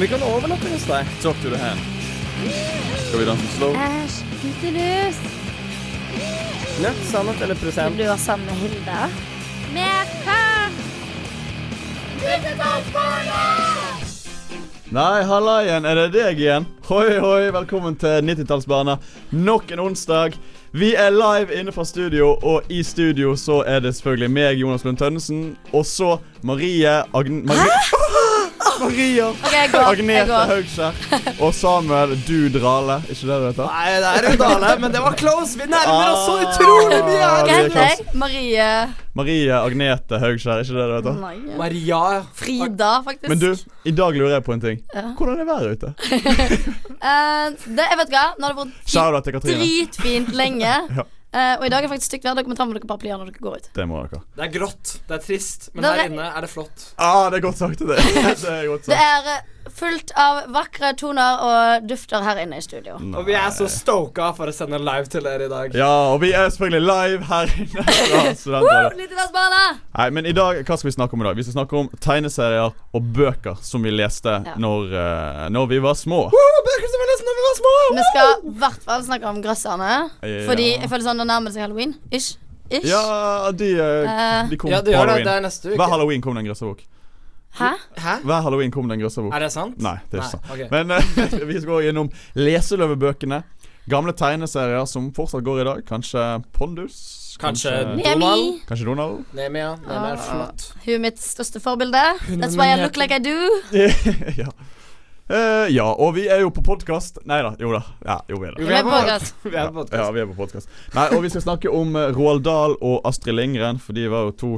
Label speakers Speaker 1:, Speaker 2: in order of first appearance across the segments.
Speaker 1: Vi kan overnatte hos deg.
Speaker 2: Talk to the hand. Skal vi danse slow?
Speaker 3: Æsj, guttelus.
Speaker 1: Nødt, sannhet eller
Speaker 3: Vil
Speaker 1: present?
Speaker 3: du være sammen med Hilda? Med faen!
Speaker 2: Nei, halla igjen. Er det deg igjen? Hoi, hoi. Velkommen til 90-tallsbarna. Nok en onsdag. Vi er live inne fra studio, og i studio så er det selvfølgelig meg, Jonas Lund Tønnesen, og så Marie Agn... Marie... Maria
Speaker 3: OK, jeg går. Jeg
Speaker 2: Agnete
Speaker 3: går.
Speaker 2: Haugskjær og Samuel Du Drale. Ikke det du heter?
Speaker 1: Nei, det er Rudale, men det var close. Vi nærmer oss så
Speaker 2: Ah.
Speaker 1: utrolig mye
Speaker 2: Ja,
Speaker 3: Hva
Speaker 2: vi
Speaker 1: her.
Speaker 2: er
Speaker 3: heter jeg? Marie
Speaker 2: Marie Agnete Haugskjær. Ikke det du heter?
Speaker 3: Nei.
Speaker 1: Maria.
Speaker 3: Frida, faktisk.
Speaker 2: Men du, i dag lurer jeg på en ting.
Speaker 3: Ja.
Speaker 2: Hvordan er været ute?
Speaker 3: Eh, det, jeg vet hva, nå har det vært fi-
Speaker 2: Shout-out til Katrine.
Speaker 3: dritfint lenge.
Speaker 2: Ja.
Speaker 3: Eh, og i dag er det faktisk stygt vær. Dere må ta med dere paraplyer når dere går ut.
Speaker 2: Det må dere.
Speaker 1: Det er grått, det er trist, men
Speaker 3: Det er-
Speaker 1: her inne er det flott.
Speaker 2: Ah, det er godt sagt. Det, det er godt
Speaker 3: Det
Speaker 2: sagt.
Speaker 3: er eh, fullt av vakre toner og dufter her inne i studio.
Speaker 1: Og vi er så stoka for å sende live til dere i dag.
Speaker 2: Ja, og vi er selvfølgelig live her inne fra Studentrådet.
Speaker 3: Litt i deres barna!
Speaker 2: Nei, men i dag, Hva skal vi snakke om i dag? Vi skal snakke om tegneserier og bøker som vi leste
Speaker 3: Ja.
Speaker 2: når, eh, når vi var små.
Speaker 1: Wow, bøker som jeg leste da vi var små!
Speaker 3: Vi skal i hvert fall snakke om grøsserne.
Speaker 2: Ja.
Speaker 3: Fordi jeg føler sånn det nærmer seg halloween. Ish. Ish.
Speaker 2: Ja, de, eh,
Speaker 3: Eh.
Speaker 2: de kom
Speaker 1: Ja,
Speaker 2: på
Speaker 1: det gjør det.
Speaker 2: halloween.
Speaker 1: Det er neste
Speaker 2: Hver
Speaker 1: uke.
Speaker 2: halloween kom det en grøssebok.
Speaker 3: Hæ?
Speaker 1: Hæ?
Speaker 2: Hver halloween kom det en grøssebok.
Speaker 1: Er det sant?
Speaker 2: Nei, det er ikke sant.
Speaker 1: Nei, ok.
Speaker 2: Men eh, vi skal gå gjennom leseløvebøkene. Gamle tegneserier som fortsatt går i dag. Kanskje Pondus.
Speaker 1: Kanskje-
Speaker 3: Nemi.
Speaker 2: Kanskje Donald.
Speaker 1: Nemia. Nemia er flott.
Speaker 3: Hun er mitt største forbilde. That's why I look like I do.
Speaker 2: ja. Eh, ja, og vi er jo på podkast. Nei da, jo da. Ja, jo, vi er det.
Speaker 1: Vi er på
Speaker 3: podcast.
Speaker 1: Vi er
Speaker 2: Ja,
Speaker 1: på podcast.
Speaker 2: vi er på podcast. Nei, Og vi skal snakke om eh, Roald Dahl og Astrid Lindgren, for de var jo to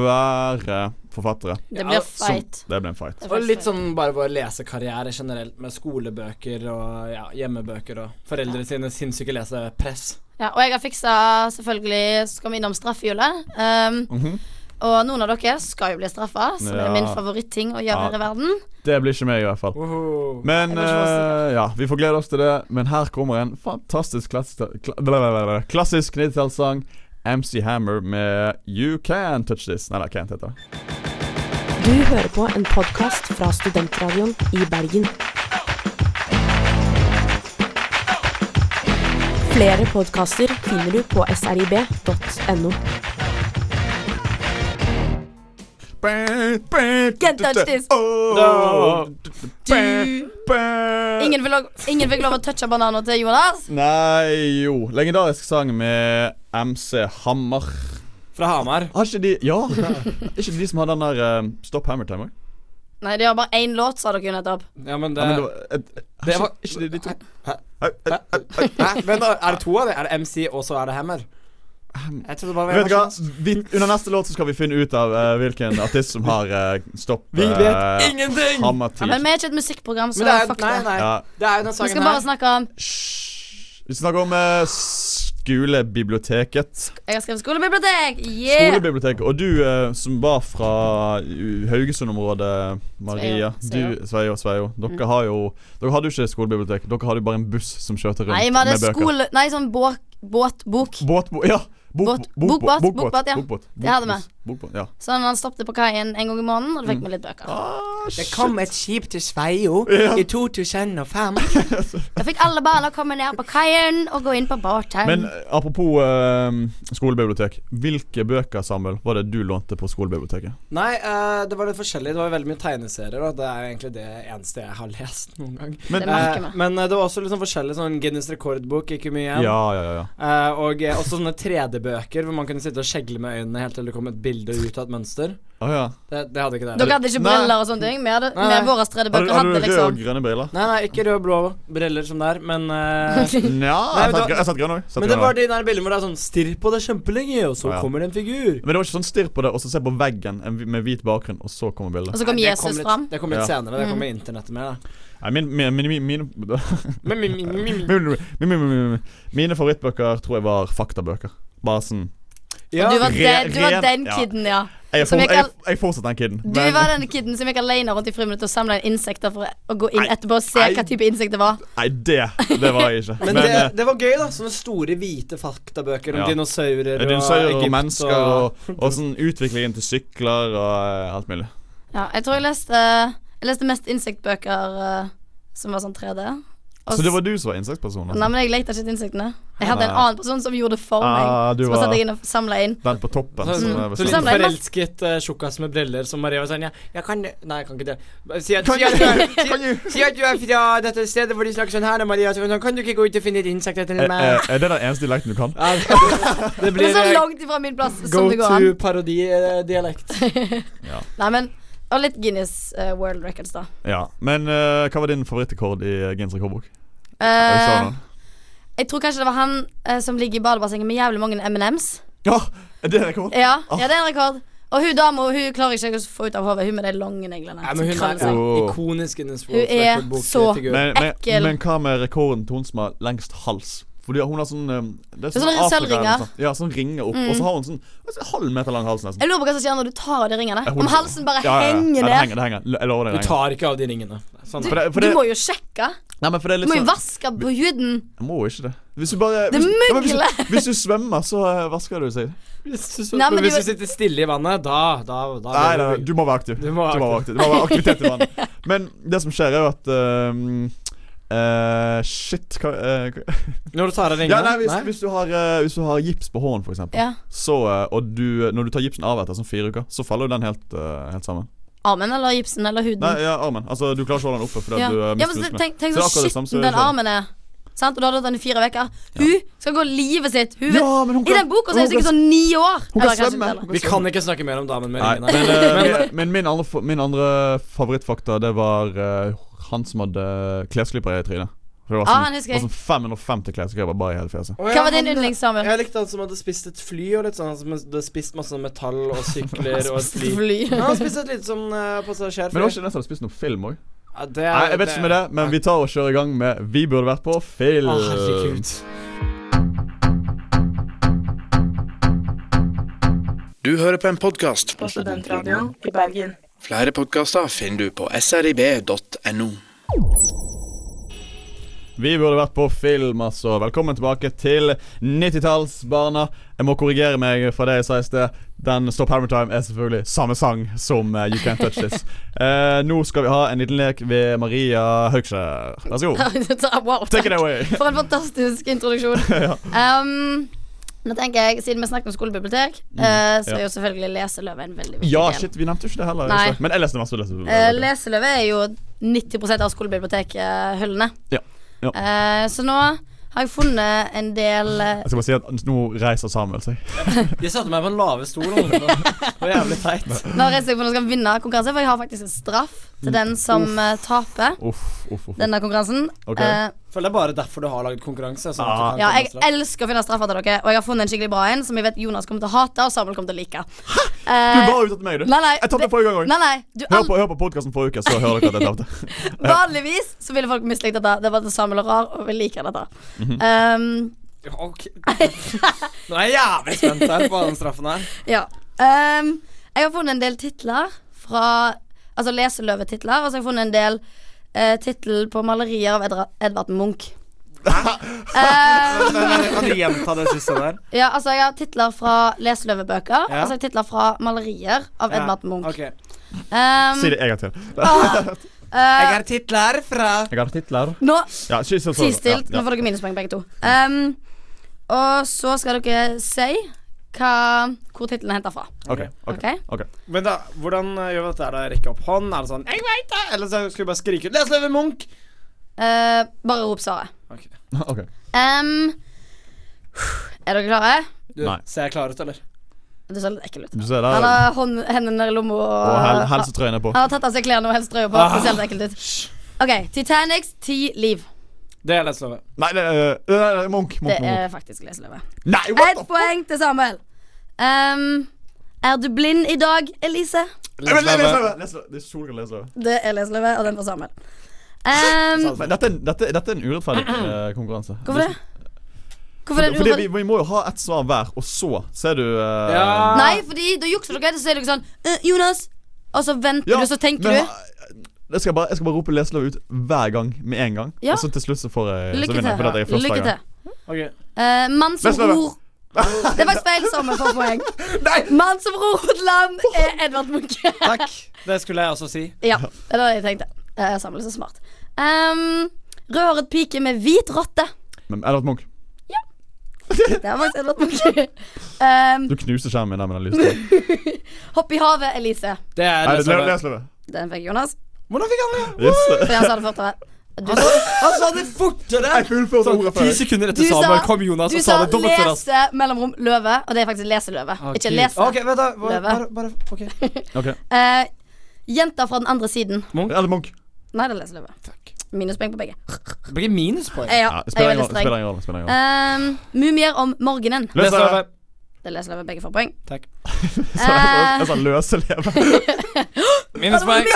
Speaker 2: svære forfattere.
Speaker 3: Det
Speaker 1: Ja,
Speaker 3: blir
Speaker 2: som-
Speaker 3: fight.
Speaker 2: Det ble en fight.
Speaker 3: Det er
Speaker 1: Og
Speaker 3: faktisk
Speaker 1: litt
Speaker 3: fight.
Speaker 1: sånn bare vår lesekarriere generelt, med skolebøker og ja, hjemmebøker og foreldre sine sinnssyke lesepress.
Speaker 3: Ja, og jeg har fiksa selvfølgelig Så skal vi innom straffehjulet. Um,
Speaker 2: Mhm.
Speaker 3: og noen av dere skal jo bli straffa, som
Speaker 2: Ja.
Speaker 3: er min favoritting å gjøre
Speaker 2: Ja.
Speaker 3: her i verden.
Speaker 2: Det blir ikke meg, i hvert fall.
Speaker 1: Woho.
Speaker 2: Men
Speaker 3: Jeg må ikke være
Speaker 2: eh, ja, vi får glede oss til det. Men her kommer en fantastisk klass kla blablabla, klassisk 90-tallssang. MC Hammer med You Can Touch This. Nei, det er Can't heter det.
Speaker 4: Du hører på en podkast fra Studentradioen i Bergen. Flere podkaster finner du på srib.no.
Speaker 3: Can't touch this.
Speaker 2: Oh.
Speaker 3: Du- Ingen, vil, lov- ingen fikk lov å touche bananer til Jonas.
Speaker 2: Nei, jo. Legendarisk sang med MC Hammer.
Speaker 1: Fra Hamar.
Speaker 2: Har ikke de Ja! Er ikke de som har den der eh, Stopp Hammer Timer?
Speaker 3: Nei, de har bare én låt, sa dere jo nettopp.
Speaker 1: Ja, men det,
Speaker 2: Ja, men det var, et, et,
Speaker 1: det
Speaker 2: ikke-
Speaker 1: var-
Speaker 2: ikke de, de to?
Speaker 1: Hæ? Hæ? Vent, da, er det to av det? Er det MC, og så er det Hammer? Jeg trodde det bare var
Speaker 2: Vet du hva?
Speaker 1: en versjon.
Speaker 2: Vi, under neste låt så skal vi finne ut av eh, hvilken artist som har eh, stopp
Speaker 1: Vi
Speaker 2: eh,
Speaker 1: vet ingenting!
Speaker 2: Hammertid.
Speaker 3: Men vi er ikke et musikkprogram, så
Speaker 1: Men det er,
Speaker 3: fuck
Speaker 1: nei,
Speaker 3: det.
Speaker 1: nei.
Speaker 2: Ja.
Speaker 1: Det er jo
Speaker 3: Vi
Speaker 1: den
Speaker 3: skal
Speaker 1: sangen
Speaker 3: bare
Speaker 1: her.
Speaker 3: snakke om
Speaker 2: Hysj. Vi snakker om eh, skolebiblioteket.
Speaker 3: Jeg har skrevet skolebibliotek! Yeah!
Speaker 2: Skolebiblioteket. Og du eh, som var fra uh, Haugesund-området, Maria
Speaker 3: Sveio, Sveio. Mm.
Speaker 2: Du, Sveio, Sveio. Dere har jo Dere hadde jo ikke skolebibliotek. Dere hadde jo bare en buss som kjørte rundt
Speaker 3: Nei, vi
Speaker 2: med
Speaker 3: hadde
Speaker 2: bøker.
Speaker 3: skole... Nei, sånn båt, båtbok.
Speaker 2: Båtbo... Ja!
Speaker 3: Båt- bokbåt, bokbåt, ja. Det hadde vi.
Speaker 2: Bokbåt, ja.
Speaker 3: Sånn han stoppet på kaien en gang i måneden, og da fikk vi litt bøker.
Speaker 2: Ah,
Speaker 5: Det kom et skip til Sveio i 2005.
Speaker 3: Da fikk alle barna komme ned på kaien og gå inn på båten.
Speaker 2: Men eh, apropos eh, skolebibliotek. Hvilke bøker Samuel, var det du lånte på skolebiblioteket?
Speaker 1: Nei, eh, det var litt forskjellig. Det var veldig mye tegneserier, og det er jo egentlig det eneste jeg har lest noen gang.
Speaker 2: Men,
Speaker 3: Det merker
Speaker 1: Eh,
Speaker 3: vi.
Speaker 1: men eh, det var også litt sånn forskjellig. Sånn Guinness rekordbok gikk jo mye
Speaker 2: ja,
Speaker 1: igjen.
Speaker 2: ja, ja, ja.
Speaker 1: Eh, og eh, også sånne 3D-bøker hvor man kunne sitte og skjegle med øynene helt til det kom et bilde ut av et mønster.
Speaker 2: Å, ja.
Speaker 1: Det, det hadde ikke det.
Speaker 3: Dere hadde ikke
Speaker 2: Nei.
Speaker 3: briller og sånne ting? Vi hadde,
Speaker 1: Nei,
Speaker 3: vi
Speaker 1: nei.
Speaker 3: våre tredje
Speaker 2: Har du,
Speaker 3: bøker
Speaker 2: har du
Speaker 3: hadde
Speaker 2: røde
Speaker 3: liksom
Speaker 2: og grønne briller?
Speaker 1: Nei, nei, ikke rød og blå briller som det er, men eh,
Speaker 2: Nja,
Speaker 1: Nei,
Speaker 2: jeg
Speaker 1: men
Speaker 2: satt
Speaker 1: da-
Speaker 2: grønn- jeg satt grønn òg.
Speaker 1: Men det var de der bildene hvor det er sånn Stirr på det kjempelenge, og så
Speaker 2: Ja.
Speaker 1: kommer det en figur.
Speaker 2: Men det var ikke sånn stirr på det, og så se på veggen en hvi- med hvit bakgrunn, og så kommer bildet.
Speaker 3: Og så kom
Speaker 1: Nei, det
Speaker 3: Jesus
Speaker 1: litt,
Speaker 3: fram. Mm.
Speaker 1: Det kom litt
Speaker 2: Ja.
Speaker 1: senere. Det kom med internettet mer, da.
Speaker 2: Nei, min, min, min, min, mine-
Speaker 1: Men, mi- mi- mi- mi-
Speaker 2: mine, mine, mine, mine favorittbøker tror jeg var faktabøker. Bare sånn
Speaker 1: ja.
Speaker 3: Du var,
Speaker 2: Re-
Speaker 3: den- du var
Speaker 2: ren-
Speaker 3: den
Speaker 2: ja.
Speaker 3: kiden, ja.
Speaker 2: Jeg er
Speaker 3: Som
Speaker 2: for-
Speaker 3: jeg
Speaker 2: jeg
Speaker 3: kall-
Speaker 2: er- jeg er fortsatt den kiden.
Speaker 3: Du var den kiden som gikk alene rundt i friminuttet og samla inn insekter for å gå inn etterpå og se
Speaker 2: Nei.
Speaker 3: hva type insekt det var.
Speaker 2: Nei, det, det var jeg ikke.
Speaker 1: Men,
Speaker 2: Men,
Speaker 1: det,
Speaker 2: eh,
Speaker 1: det var gøy, da. Sånne store hvite faktabøker om
Speaker 2: Ja.
Speaker 1: dinosaurer og
Speaker 2: Dinosaurer og
Speaker 1: Egypt
Speaker 2: mennesker og, og sånn utviklingen til sykler og eh, alt mulig.
Speaker 3: Ja, jeg tror jeg leste eh, Jeg leste mest insektbøker eh, som var sånn 3D. Og
Speaker 2: Så Altså, det
Speaker 3: s-
Speaker 2: var du som var altså. insektpersonen?
Speaker 3: Nei, men jeg lekte ikke til insektene. Jeg hadde en
Speaker 2: Sånn. Nei.
Speaker 3: annen person som gjorde det for meg.
Speaker 2: Ah, du
Speaker 3: som
Speaker 2: var-
Speaker 3: var... satt jeg inn og samla inn.
Speaker 2: Den på
Speaker 3: Mm.
Speaker 2: toppen.
Speaker 1: Så,
Speaker 2: som
Speaker 1: så,
Speaker 2: er sånn. ved
Speaker 1: så litt
Speaker 2: siden av.
Speaker 3: Samla inn masse-
Speaker 1: forelsket eh, tjukkas med briller som Maria var sånn ja,
Speaker 5: Jeg kan
Speaker 1: Nei, jeg kan ikke det. Si at,
Speaker 5: Kan
Speaker 1: si
Speaker 5: du,
Speaker 1: at
Speaker 5: si, si at du er fra dette stedet hvor de snakker sånn her, Maria. Så sånn, kan du ikke gå ut og finne et insekt etter
Speaker 2: Er,
Speaker 5: meg?
Speaker 2: Eh, er- er det den eneste dialekten du kan?
Speaker 1: ja, det, det
Speaker 3: Det
Speaker 1: blir
Speaker 3: er så
Speaker 1: eh,
Speaker 3: langt ifra min plass
Speaker 1: go
Speaker 3: som det går an.
Speaker 1: to parodidialekt.
Speaker 3: Nei, men Og litt Guinness eh, World Records, da.
Speaker 2: Ja. Men eh, hva var din favorittrekord i eh, Guinness rekordbok? Har du
Speaker 3: Eh,
Speaker 2: savnet den?
Speaker 3: jeg tror kanskje det var han eh, som ligger i badebassenget med jævlig mange M&M's.
Speaker 2: Ja, er det rekord?
Speaker 3: Ja,
Speaker 2: Ah.
Speaker 3: ja, det er en rekord. Og hun dama hun klarer ikke jeg å få ut av hodet. Hun med de lange neglene.
Speaker 1: Nei, men
Speaker 3: som
Speaker 1: hun
Speaker 3: krøller
Speaker 1: er
Speaker 3: seg.
Speaker 2: Åh.
Speaker 1: ikonisk Guinness
Speaker 3: Hun er så-
Speaker 2: Men, men,
Speaker 3: Ekkel.
Speaker 2: men hva med rekorden til hun som har lengst hals? Fordi hun har sånn um, Det er sånn
Speaker 3: sånne
Speaker 2: Afrika-
Speaker 3: sølvringer.
Speaker 2: sånn- Ja, sånn ringer opp.
Speaker 3: Mm.
Speaker 2: Og så har hun sånn altså, halv meter lang hals, nesten.
Speaker 3: Jeg lurer på hva som skjer når du tar av de ringene.
Speaker 2: Eh, hun-
Speaker 3: Om halsen bare
Speaker 2: Ja, ja, ja.
Speaker 3: henger
Speaker 2: Ja, det
Speaker 3: ned.
Speaker 2: henger, det henger. L- Jeg lover
Speaker 1: Du
Speaker 2: deg. det henger.
Speaker 1: tar ikke av de ringene. Sånn.
Speaker 2: For det, for
Speaker 3: Du
Speaker 2: det,
Speaker 3: må jo sjekke.
Speaker 2: nei, men for det er
Speaker 3: Du
Speaker 2: litt
Speaker 3: må jo
Speaker 2: sånn
Speaker 3: vaske på huden.
Speaker 2: Jeg må jo ikke det. Hvis du bare
Speaker 3: Det
Speaker 2: hvis, ja, men hvis, du-
Speaker 3: mugler.
Speaker 2: hvis du svømmer, så eh, vasker du seg.
Speaker 1: Hvis du, så,
Speaker 3: Nei, men
Speaker 1: men hvis
Speaker 3: det-
Speaker 1: du sitter stille i vannet, da, da, da
Speaker 2: Nei, nei, nei, du må være aktiv.
Speaker 1: Du må være
Speaker 2: aktiv. Du må være aktivitet i vannet. Men det som skjer, er jo at ehm, eh, shit hva, eh, hva-
Speaker 1: Når du tar av
Speaker 2: ja,
Speaker 1: ringene
Speaker 2: nei, hvis, hvis, du har, eh, hvis du har gips på hånden, f.eks.,
Speaker 3: Ja.
Speaker 2: så, eh, og du, når du tar gipsen av etter sånn fire uker, så faller jo den helt, eh, helt sammen.
Speaker 3: Armen eller gipsen eller huden.
Speaker 2: Nei, ja, armen. Altså, du klarer ikke å holde den oppe fordi
Speaker 3: Mm. ja.
Speaker 2: at du eh,
Speaker 3: ja,
Speaker 2: mister
Speaker 3: men så
Speaker 2: musklene.
Speaker 3: tenk, tenk
Speaker 2: Så det er
Speaker 3: så
Speaker 2: akkurat det samme som
Speaker 3: skitten
Speaker 2: det sånn.
Speaker 3: den
Speaker 2: skjer.
Speaker 3: armen er. Sant? Og du har hatt den i fire uker. Hun skal gå livet sitt. Hun,
Speaker 2: Ja, men hun
Speaker 3: I
Speaker 2: kan-
Speaker 3: den boka så er
Speaker 2: hun
Speaker 3: hun sikkert
Speaker 2: kan-
Speaker 3: sånn ni år. Eller
Speaker 2: Hun kan
Speaker 3: kanskje
Speaker 2: svømme.
Speaker 3: ikke
Speaker 2: Hun
Speaker 3: det.
Speaker 2: kan
Speaker 1: Vi
Speaker 2: svømme.
Speaker 1: kan ikke snakke mer om damen med
Speaker 2: Nei,
Speaker 1: ringene.
Speaker 2: men, eh, min, men min, andre, fa- min andre favorittfakta, det var eh, han som hadde klesklipper i trynet. For Det var
Speaker 3: Ah,
Speaker 2: sånn,
Speaker 3: han husker
Speaker 2: det var sånn 550 klesklipper bare i hele fjeset.
Speaker 1: Å, ja,
Speaker 3: Hva var din
Speaker 1: han-
Speaker 3: yndlings, Samuel?
Speaker 1: Jeg likte han som hadde spist et fly, og litt sånn han som hadde spist masse metall og sykler og et fly.
Speaker 3: Fly.
Speaker 1: Ja, han spiste et lite sånn uh, passasjerfly.
Speaker 2: Men det var ikke den som hadde spist noe film òg.
Speaker 1: Ja, det er-
Speaker 2: Nei, jeg vet ikke med det, men vi tar og kjører i gang med Vi burde vært på film.
Speaker 1: Å, herregud.
Speaker 6: Du hører på en podkast
Speaker 7: på Studentradioen i Bergen.
Speaker 6: Flere podkaster finner du på srib.no.
Speaker 2: Vi burde vært på film, altså. Velkommen tilbake til 90-tallsbarna. Jeg må korrigere meg fra det jeg sa i sted. Den Stop Hammer Time er selvfølgelig samme sang som eh, You Can't Touch This. Eh, nå skal vi ha en liten lek ved Maria Haugskjær. Vær så god.
Speaker 3: wow.
Speaker 2: Take it away.
Speaker 3: For en fantastisk introduksjon. um, nå tenker jeg, Siden vi snakker om skolebibliotek, eh, så
Speaker 2: Mm. ja.
Speaker 3: er jo selvfølgelig Leseløve en veldig viktig
Speaker 2: Ja,
Speaker 3: del.
Speaker 2: shit, vi nevnte jo ikke det heller.
Speaker 3: Nei.
Speaker 2: Jostein. Men jeg leste masse. Leste,
Speaker 3: Eh, leseløve er jo 90 av skolebibliotekhyllene.
Speaker 2: Ja, ja.
Speaker 3: Eh, så nå har jeg funnet en del eh,
Speaker 2: Jeg skal bare si at nå reiser Samuel seg.
Speaker 1: Jeg satte meg på den lave stolen. Det var jævlig teit.
Speaker 3: Nå har jeg sett hvordan jeg skal vinne konkurranse, for jeg har faktisk en straff til den som eh, taper
Speaker 2: Uff, uff, uff.
Speaker 3: denne konkurransen.
Speaker 2: Ok.
Speaker 3: Eh,
Speaker 1: Føler det er bare derfor du har lagd konkurranse. Sånn
Speaker 2: Ah.
Speaker 1: at du kan
Speaker 3: ja,
Speaker 1: komme
Speaker 3: jeg
Speaker 1: straff.
Speaker 3: elsker å finne straffer til dere, og jeg har funnet en skikkelig bra en som jeg vet Jonas kommer til å hate, og Samuel kommer til å like.
Speaker 2: Du
Speaker 3: Eh,
Speaker 2: bare utsatte meg, du.
Speaker 3: Nei, nei,
Speaker 2: jeg tapte
Speaker 3: det-
Speaker 2: forrige gang òg.
Speaker 3: Nei, nei, du
Speaker 2: Hør på, hør på podkasten forrige uke, så hører dere at jeg tapte.
Speaker 3: Vanligvis så ville folk mislikt dette. Det var at Samuel er rar, og vi liker dette.
Speaker 2: Mhm.
Speaker 3: um,
Speaker 1: Ok. Nå er jeg jævlig spent her på den straffen her.
Speaker 3: ja. um, jeg har funnet en del titler fra Altså leseløvetitler, og så har jeg funnet en del uh, tittel på malerier av Edra Edvard Munch. um,
Speaker 1: Kan du gjenta det siste der?
Speaker 3: ja, altså Jeg har titler fra leseløvebøker, og så
Speaker 1: Ja.
Speaker 3: har jeg titler fra malerier av Edvard Munch.
Speaker 1: Ok.
Speaker 3: Um,
Speaker 2: Si det en gang til.
Speaker 1: Jeg har titler fra
Speaker 2: Jeg har titler.
Speaker 3: eh, nå
Speaker 2: Ja, si så- så-
Speaker 3: Ti stilt.
Speaker 2: Ja,
Speaker 3: Nå
Speaker 2: ja.
Speaker 3: får dere minuspoeng, begge to. Um, og så skal dere si hva, hvor tittelen er henta fra.
Speaker 2: Ok, ok,
Speaker 3: Ok?
Speaker 2: ok.
Speaker 1: Men da, hvordan eh, gjør vi dette? her da? Rekke opp hånd? Er det sånn 'Jeg veit det!' Eller så skal vi bare skrike ut 'Les Løve Munch'?
Speaker 3: Eh, bare rop svaret.
Speaker 1: Ok.
Speaker 2: Ok.
Speaker 3: Um, er dere klare?
Speaker 1: Du,
Speaker 2: Nei.
Speaker 1: Ser jeg klar ut, eller?
Speaker 3: Du ser litt ekkel ut.
Speaker 2: Du ser
Speaker 3: Han
Speaker 2: der.
Speaker 3: har hånd, hendene ned i lomma og
Speaker 2: Og hel Ah, helsetrøyen er på.
Speaker 3: Han har tatt av seg klærne og helsetrøya på. Det ser litt ekkelt ut. OK. Titanics ti liv.
Speaker 1: Det er Les Løve.
Speaker 2: Nei, nei, nei, nei, nei, øh, Munch.
Speaker 3: Det
Speaker 2: Munch, Munch.
Speaker 3: er faktisk leseløve.
Speaker 2: Nei,
Speaker 3: Ett
Speaker 2: what the
Speaker 3: poeng til Samuel. Um, er du blind i dag, Elise?
Speaker 2: Nei, men Les
Speaker 3: Mm.
Speaker 2: løvet! Les løvet. Det er solgrann Les løvet.
Speaker 3: Det er leseløve, og den får Samuel. Um,
Speaker 2: Men dette, er en- dette, dette er en urettferdig eh, konkurranse.
Speaker 3: Mm. hvorfor det? Hvorfor er det
Speaker 2: Fordi
Speaker 3: urettferdig?
Speaker 2: vi, vi må jo ha ett svar hver, og så ser du eh,
Speaker 1: Ja.
Speaker 3: sånn- Nei, fordi da jukser dere, og så er dere sånn «Eh, Jonas! Og så venter du, så tenker
Speaker 2: men
Speaker 3: du.
Speaker 2: ha- Jeg skal, bare, jeg skal bare rope leselov ut hver gang med en gang.
Speaker 3: Ja.
Speaker 2: Og så til slutt så får jeg så
Speaker 3: Lykke
Speaker 2: vinner jeg, for dette er
Speaker 3: til.
Speaker 2: første
Speaker 3: Lykke
Speaker 2: gangen.
Speaker 3: til.
Speaker 1: Ok.
Speaker 3: Eh, mann som
Speaker 2: Leseløve.
Speaker 3: ror Det er faktisk feil sommer for poeng. Mann som ror mot land er Edvard Munch.
Speaker 5: Takk. Det skulle jeg også si.
Speaker 3: Ja, det var det jeg tenkte. Jeg samler Eh, så smart. Um, Rødhåret pike med hvit rotte.
Speaker 2: Men Edvard Munch,
Speaker 3: Det er faktisk Edvard Munch. Um,
Speaker 2: du knuser skjermen min der med den lysten.
Speaker 3: hopp i havet, Elise.
Speaker 1: Det er
Speaker 2: Nei,
Speaker 1: det
Speaker 2: Les
Speaker 1: som er
Speaker 2: les løvet.
Speaker 3: Den fikk Jonas.
Speaker 5: Hvordan fikk han det?
Speaker 2: Yes.
Speaker 3: For han sa det fortere. Du,
Speaker 1: Han sa- Han sa det fortere! Sånn
Speaker 2: Jeg fullførte ordet
Speaker 1: Ti
Speaker 2: før.
Speaker 1: sekunder etter
Speaker 3: du
Speaker 1: Samuel kom Jonas
Speaker 3: du
Speaker 1: og sa det dobbelt så raskt.
Speaker 3: lese mellomrom løve, og det er faktisk leseløve.
Speaker 1: Å,
Speaker 3: Ikke
Speaker 1: Ah, Gud.
Speaker 3: lese.
Speaker 5: Ok, vent da. Bare,
Speaker 3: Løve.
Speaker 5: bare, bare ok.
Speaker 2: Ok,
Speaker 3: Eh, jenta fra den andre siden.
Speaker 2: Edvard Munch.
Speaker 3: Nei, det er leseløve.
Speaker 1: Fuck.
Speaker 3: Minuspoeng på begge.
Speaker 1: Det blir minuspoeng.
Speaker 3: Eh, ja,
Speaker 2: Ja,
Speaker 3: jeg er
Speaker 2: spiller
Speaker 3: veldig
Speaker 2: ingen rolle,
Speaker 3: streng.
Speaker 2: spiller ingen rolle. spiller ingen rolle.
Speaker 3: Um, mumier om morgenen.
Speaker 2: Les
Speaker 1: Neste
Speaker 2: løvet.
Speaker 1: løve.
Speaker 3: Det leser jeg med begge får poeng.
Speaker 1: Takk.
Speaker 2: Så
Speaker 3: Eh,
Speaker 2: jeg- Jeg sa løse leve.
Speaker 1: Minuspoeng.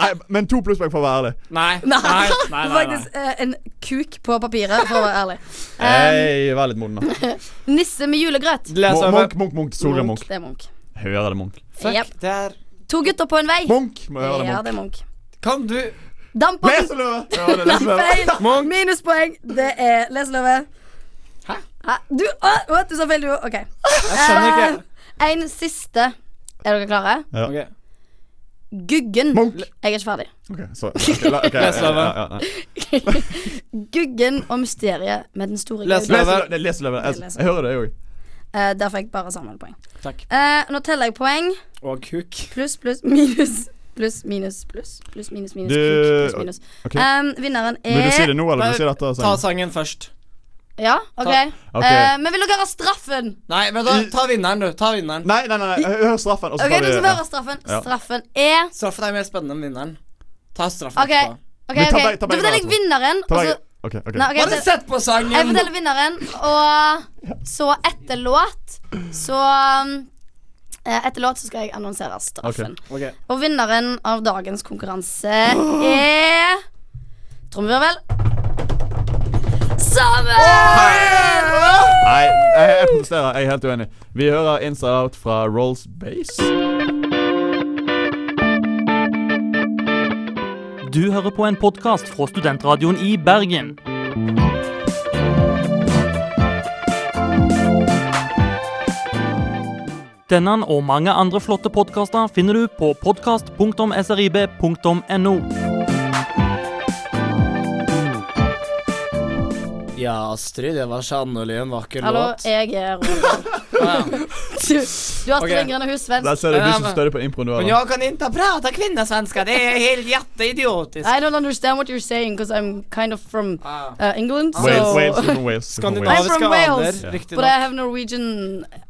Speaker 2: Nei, men to plusspoeng for å være ærlig.
Speaker 1: Nei.
Speaker 3: Nei,
Speaker 1: Nei, nei, nei, nei.
Speaker 3: faktisk eh, en kuk på papiret, for å være ærlig. Ehm,
Speaker 2: Hei, vær litt moden, da.
Speaker 3: Nisse med julegrøt.
Speaker 1: Les
Speaker 2: Mo-
Speaker 1: løve.
Speaker 2: Munch, Munch, Munch. Solveig Munch.
Speaker 3: Det er Munch.
Speaker 2: Hører det Munch.
Speaker 5: Fuck,
Speaker 3: Jep.
Speaker 5: det er
Speaker 3: To gutter på en vei.
Speaker 2: Munch må høre det
Speaker 3: Ja,
Speaker 2: Munch.
Speaker 3: det er Munch.
Speaker 5: Kan du
Speaker 3: Damp og
Speaker 2: Leseløve! Ja, det er leseløve.
Speaker 3: feil. Minuspoeng. Det er leseløve.
Speaker 5: Hæ?
Speaker 3: Hæ? Du, å, å, du sa feil, du òg. OK.
Speaker 5: Jeg skjønner ikke.
Speaker 3: Eh. En siste. Er dere klare?
Speaker 2: Ja.
Speaker 1: Ok.
Speaker 3: Guggen.
Speaker 2: Munch.
Speaker 3: Jeg er ikke ferdig.
Speaker 2: Ok, så ok, la- ok,
Speaker 1: Les løve.
Speaker 2: ja, ja, ja.
Speaker 3: Guggen og mysteriet med den store
Speaker 5: Les
Speaker 3: guden.
Speaker 5: løve.
Speaker 2: Leseløve. Det er leseløve. Jeg, jeg hører det, jeg òg.
Speaker 3: Eh, der fikk bare Samuel-poeng.
Speaker 1: Takk.
Speaker 3: Eh, nå teller jeg poeng.
Speaker 1: Og kuk.
Speaker 3: Pluss, pluss, minus. Pluss, minus, pluss. Pluss, minus, minus.
Speaker 2: Du-
Speaker 3: kuk, Pluss, minus.
Speaker 2: ok.
Speaker 3: Ehm, vinneren
Speaker 2: Vil du si
Speaker 3: er
Speaker 2: det nå, eller vil du si det etter?
Speaker 1: Ta
Speaker 2: Sånn?
Speaker 1: sangen først.
Speaker 3: Ja, OK.
Speaker 2: Ok.
Speaker 3: Eh, men vil dere ha straffen?
Speaker 1: Nei, men da, ta vinneren, du. Ta vinneren.
Speaker 2: Nei, nei, nei, nei. hø- hør straffen. Og så
Speaker 3: OK, dere
Speaker 2: tar
Speaker 3: skal
Speaker 2: vi
Speaker 3: få
Speaker 2: ja.
Speaker 3: høre straffen.
Speaker 2: Ja.
Speaker 3: Straffen er
Speaker 1: Straffen er mer spennende enn vinneren. Ta straffen
Speaker 3: Ok.
Speaker 1: etterpå.
Speaker 3: OK,
Speaker 2: Men ta
Speaker 3: ok,
Speaker 2: begge-
Speaker 3: da
Speaker 2: ta begge
Speaker 3: forteller jeg
Speaker 2: hver,
Speaker 3: vinneren.
Speaker 2: Ta
Speaker 3: Og så,
Speaker 2: deg- Ok, ok.
Speaker 3: altså- nei, ok, jeg,
Speaker 1: Bare
Speaker 3: forteller-
Speaker 1: sett på sangen!
Speaker 3: jeg forteller vinneren, og så etter låt så um, eh, Etter låt så skal jeg annonsere straffen.
Speaker 1: Ok.
Speaker 3: Og vinneren av dagens konkurranse er Trommevirvel. Samuel!
Speaker 2: Nei, jeg, jeg protesterer. Jeg er helt uenig. Vi hører Inside Out fra Rolls Base.
Speaker 8: Du hører på en podkast fra studentradioen i Bergen. Denne og mange andre flotte podkaster finner du på podkast.srib.no.
Speaker 1: Ja, Astrid, det var sannelig en vakker
Speaker 3: Hallo,
Speaker 1: låt.
Speaker 3: jeg er Roald.
Speaker 1: Ja.
Speaker 3: Du, du har
Speaker 1: Ok.
Speaker 3: strengere enn hun
Speaker 2: Der
Speaker 3: svensk.
Speaker 2: ser du du som
Speaker 5: men-
Speaker 2: støtter på improen du har.
Speaker 5: Men
Speaker 2: da.
Speaker 5: jag kan inte prata kvinnosvenska, det är helt jätteidiotiskt.
Speaker 3: I don't understand what you're saying, because I'm kind of from
Speaker 5: Ah.
Speaker 3: uh, England, so
Speaker 2: Wales, Wales, you're from Wales. you're
Speaker 3: I'm from
Speaker 2: from Wales.
Speaker 5: Skandinaviska
Speaker 3: Wales.
Speaker 5: aner,
Speaker 2: Ja.
Speaker 5: riktig
Speaker 3: But I have Norwegian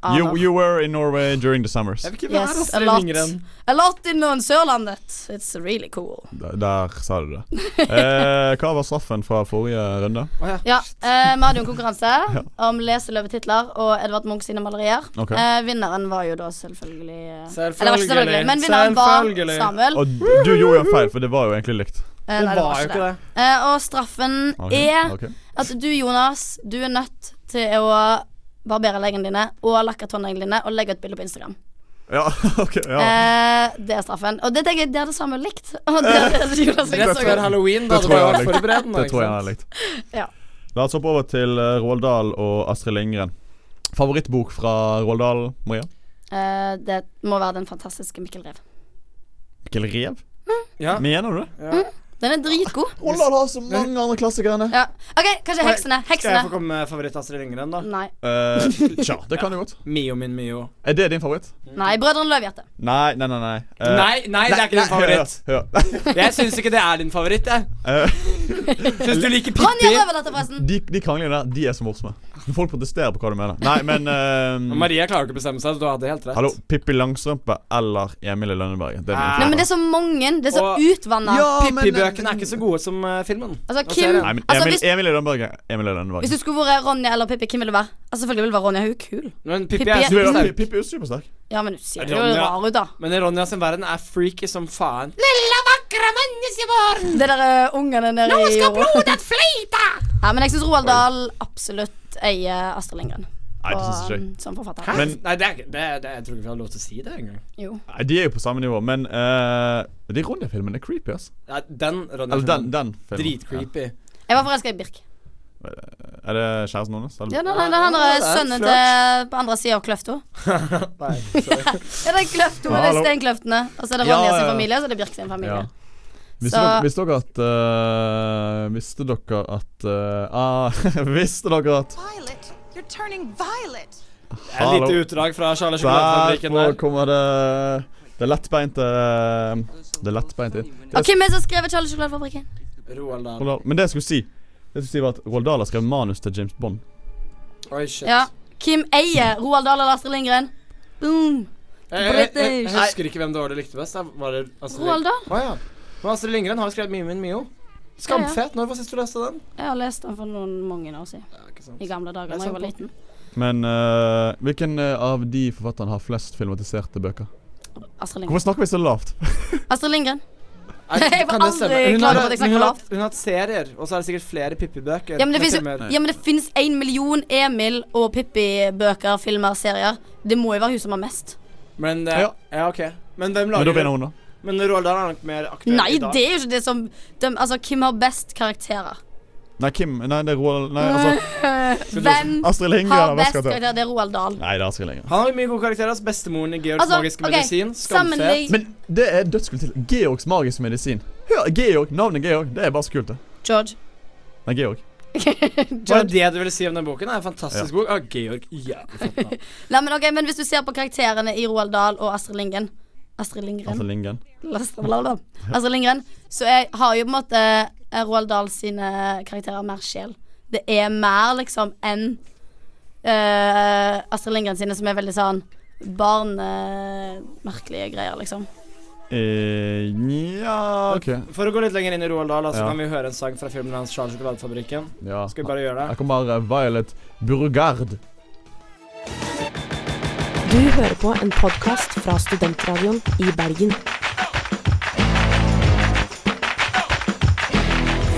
Speaker 3: honor.
Speaker 2: You, you were in Norway during the summers.
Speaker 5: Jeg vil ikke være
Speaker 3: Yes, a
Speaker 5: Astrid
Speaker 3: lot.
Speaker 5: Lindgren.
Speaker 3: A lot in on Sørlandet. It's really cool.
Speaker 2: Der, der sa du det. Eh, hva var straffen fra forrige runde?
Speaker 3: Ja, eh, Vi hadde jo en konkurranse om leseløvetitler og Edvard Munch sine malerier.
Speaker 2: Ok.
Speaker 3: Eh, vinneren var jo da selvfølgelig eh, Eller
Speaker 1: Selvfølgelig.
Speaker 3: det var ikke selvfølgelig, men vinneren
Speaker 1: Selvfølgelig.
Speaker 3: var Samuel.
Speaker 2: Og du gjorde jo en feil, for det var jo egentlig likt.
Speaker 3: Eh, nei, det var ikke det. Eh, og straffen
Speaker 2: Ok,
Speaker 3: er
Speaker 2: ok.
Speaker 3: at du, Jonas, du er nødt til å barbere leggene dine og lakke tåneglene dine og legge ut bilde på Instagram.
Speaker 2: Ja, ok. Ja.
Speaker 3: Eh, det er straffen. Og det tenker jeg det hadde Samuel likt. Og det hadde Jonas
Speaker 1: Rett
Speaker 3: likt.
Speaker 1: før halloween,
Speaker 2: Det
Speaker 1: da. Det
Speaker 2: tror jeg
Speaker 1: var
Speaker 2: er likt.
Speaker 1: forberedt nå.
Speaker 2: Det
Speaker 1: ikke
Speaker 2: tror jeg er
Speaker 1: sant?
Speaker 2: likt.
Speaker 3: Ja.
Speaker 2: La oss hoppe over til eh, Roald Dahl og Astrid Lindgren. Favorittbok fra Roald Dahl, Maria?
Speaker 3: Eh, det må være den fantastiske Mikkel Rev.
Speaker 2: Mikkel Rev?
Speaker 1: Ja.
Speaker 2: Mener du det?
Speaker 3: Den er dritgod.
Speaker 2: Roald Dahl har så mange andre klassikere.
Speaker 3: Ja. OK, kanskje Heksene.
Speaker 1: Skal jeg få
Speaker 3: Heksene.
Speaker 1: komme med favoritt-Astrid Lindgren,
Speaker 2: Mm.
Speaker 1: da?
Speaker 3: Nei.
Speaker 2: Eh, tja, det kan du godt.
Speaker 1: Mio min Mio.
Speaker 2: Er det din favoritt?
Speaker 3: Nei, Brødrene Løvhjerte.
Speaker 2: Nei, nei, nei. nei. Eh,
Speaker 1: Nei, nei, det er ikke din favoritt.
Speaker 2: Hør, hør.
Speaker 1: Jeg syns ikke det er din favoritt, jeg.
Speaker 2: Eh,
Speaker 1: Syns du liker
Speaker 3: Ronja
Speaker 1: Pippi?
Speaker 3: Røverdatter, forresten.
Speaker 2: de, de kranglene der, de er så morsomme. Men Folk protesterer på hva du mener. Nei, men
Speaker 1: Men
Speaker 2: eh,
Speaker 1: Maria klarer ikke å bestemme seg, så du hadde helt rett.
Speaker 2: Hallo, Pippi Langstrømpe eller Emil i Lønneberget? Det er
Speaker 1: Ah.
Speaker 3: Nei,
Speaker 2: din
Speaker 3: men det
Speaker 2: favoritt.
Speaker 3: er sånn så mange. Det er så
Speaker 1: Og-
Speaker 3: utvanna.
Speaker 1: Pippi-bøkene er ikke så gode som eh, filmen.
Speaker 3: Altså,
Speaker 1: Og
Speaker 3: Kim
Speaker 1: serien.
Speaker 2: Nei, men
Speaker 3: altså,
Speaker 2: Emil,
Speaker 3: hvis-
Speaker 2: Emil i Lønneberget. Emil i
Speaker 3: Hvis
Speaker 2: Lønneberget.
Speaker 3: du skulle vært Ronja eller Pippi, hvem ville du vært? Altså, selvfølgelig ville du være Ronja. Hun er kul.
Speaker 1: Men Pippi
Speaker 3: Pippi
Speaker 1: er
Speaker 3: er-
Speaker 2: Du er
Speaker 1: supersterk.
Speaker 2: Pippi er supersterk.
Speaker 3: Ja, men du ser jo
Speaker 1: Ronja-
Speaker 3: rar ut, da.
Speaker 1: Men Ronja sin verden er freaky som faen.
Speaker 3: Det der eh, ungene nede i Nå skal blodet flyte! ja, men jeg syns Roald Dahl absolutt eier Astrid Lindgren.
Speaker 2: Nei, det synes
Speaker 3: Og,
Speaker 2: ikke jeg.
Speaker 3: um, som forfatter.
Speaker 1: Hæ?
Speaker 2: Men-
Speaker 1: Nei, det er, ikke- det, det, jeg tror ikke vi har lov til å si det engang.
Speaker 3: Jo.
Speaker 2: Nei, De er jo på samme nivå, men eh, de Ronja-filmene er creepy, ass.
Speaker 1: Ja, den Ronja
Speaker 2: Eller den, den filmen.
Speaker 1: Dritcreepy.
Speaker 3: Jeg var forelska i Birk.
Speaker 2: Er det kjæresten hennes? eller?
Speaker 3: Ja, nei, nei, det er han der er sønnen til på andre sida av Kløfta.
Speaker 1: Nei,
Speaker 3: Ja, det er Kløfta, men det er
Speaker 2: Hallo.
Speaker 3: Steinkløftene. Og så er det
Speaker 2: Ja,
Speaker 3: Ronja
Speaker 2: ja, ja.
Speaker 3: sin familie, og så er det Birk sin familie.
Speaker 2: Ja. Visste,
Speaker 3: Så-
Speaker 2: dere, visste dere at eh, Visste dere at eh, ah, Visste dere at
Speaker 9: Violet, you're turning violet.
Speaker 1: Et lite utdrag fra Charlie Sjokoladefabrikken
Speaker 2: Derfor
Speaker 1: der.
Speaker 2: kommer det Det lettbeinte eh, Det lettbeinte inn.
Speaker 3: Og hvem er det som har skrevet Charlie Sjokoladefabrikken?
Speaker 1: Roald Dahl.
Speaker 2: Roald Dahl- Men det jeg skulle si Det jeg skulle si var at Roald Dahl har skrevet manus til James Bond.
Speaker 5: Oi, shit.
Speaker 3: Ja. Kim eier Roald Dahl eller Astrid Lindgren. Boom.
Speaker 5: Jeg, jeg, jeg, jeg
Speaker 3: British.
Speaker 5: husker ikke hvem det var du likte best. da. Var det Astrid
Speaker 3: Roald Dahl?
Speaker 5: Å ja. Men Astrid Lindgren har jo skrevet mye min Mio. Skamfet. Når var sist du leste den?
Speaker 3: Jeg har lest den for noen mange år siden.
Speaker 5: Ja, ikke sant.
Speaker 3: I gamle dager da jeg var liten.
Speaker 2: Men eh, hvilken eh, av de forfatterne har flest filmatiserte bøker?
Speaker 3: Astrid Lindgren.
Speaker 2: Hvorfor snakker vi så lavt?
Speaker 3: Astrid Lindgren.
Speaker 5: Nei,
Speaker 3: Jeg var
Speaker 5: kan det
Speaker 3: aldri
Speaker 5: stemme? Hun
Speaker 3: klar
Speaker 5: har-
Speaker 3: over at jeg snakker
Speaker 5: hun har-
Speaker 3: lavt.
Speaker 5: Hun har hatt serier, og så er det sikkert flere Pippi-bøker.
Speaker 3: Ja, men det
Speaker 5: med
Speaker 3: finnes jo-
Speaker 5: filmer.
Speaker 3: Ja, men det fins én million Emil og Pippi-bøker, filmer, serier. Det må jo være hun som har mest.
Speaker 5: Men, eh,
Speaker 2: Ja.
Speaker 5: ja, ok. Men hvem
Speaker 2: Men da
Speaker 5: lager
Speaker 2: vinner hun, da.
Speaker 5: Men Roald Dahl er nok mer aktuell
Speaker 3: Nei,
Speaker 5: i dag.
Speaker 3: det er jo ikke det som de, Altså, hvem har best karakterer?
Speaker 2: Nei, Kim Nei, det er Roald Nei, altså
Speaker 3: Hvem
Speaker 2: Astrid Lindgren
Speaker 3: har
Speaker 2: har best
Speaker 3: best
Speaker 2: karakter.
Speaker 3: karakterer? Det er Roald Dahl.
Speaker 2: Nei, det er Astrid Lindgren.
Speaker 5: Han har jo mye gode karakterer. Altså Bestemoren i Georgs
Speaker 3: Altså,
Speaker 5: magiske
Speaker 3: ok,
Speaker 5: medisin. Skamfet.
Speaker 3: Sammenlign
Speaker 2: Men det er dødskult til. Georgs magiske medisin. Hør, Georg, Navnet Georg, det er bare så kult, det.
Speaker 3: George.
Speaker 2: Nei, Georg.
Speaker 5: Var det det du ville si om den boken? Det er en fantastisk bok. Ah, Georg, jævlig flott navn.
Speaker 3: Nei, men ok, men hvis du ser på karakterene i Roald Dahl og Astrid Lindgren Astrid Lindgren
Speaker 2: Astrid Lindgren.
Speaker 3: Astrid, blablabla. Astrid Lindgren Så jeg har jo på en måte eh, Roald Dahl sine karakterer mer sjel Det er mer liksom enn eh, Astrid Lindgren sine som er veldig sånn Barnemerkelige greier liksom
Speaker 2: Eh, Nja, OK.
Speaker 5: For å gå litt lenger inn i Roald Dahl, da, så
Speaker 2: Ja.
Speaker 5: kan vi høre en sang fra filmen hans 'Charles Sjokoladefabrikken'.
Speaker 2: Ja.
Speaker 5: Skal vi bare gjøre
Speaker 2: Her
Speaker 5: det?
Speaker 2: kommer eh, Violet Burgard.
Speaker 4: Du hører på en podkast fra Studentradioen i Bergen.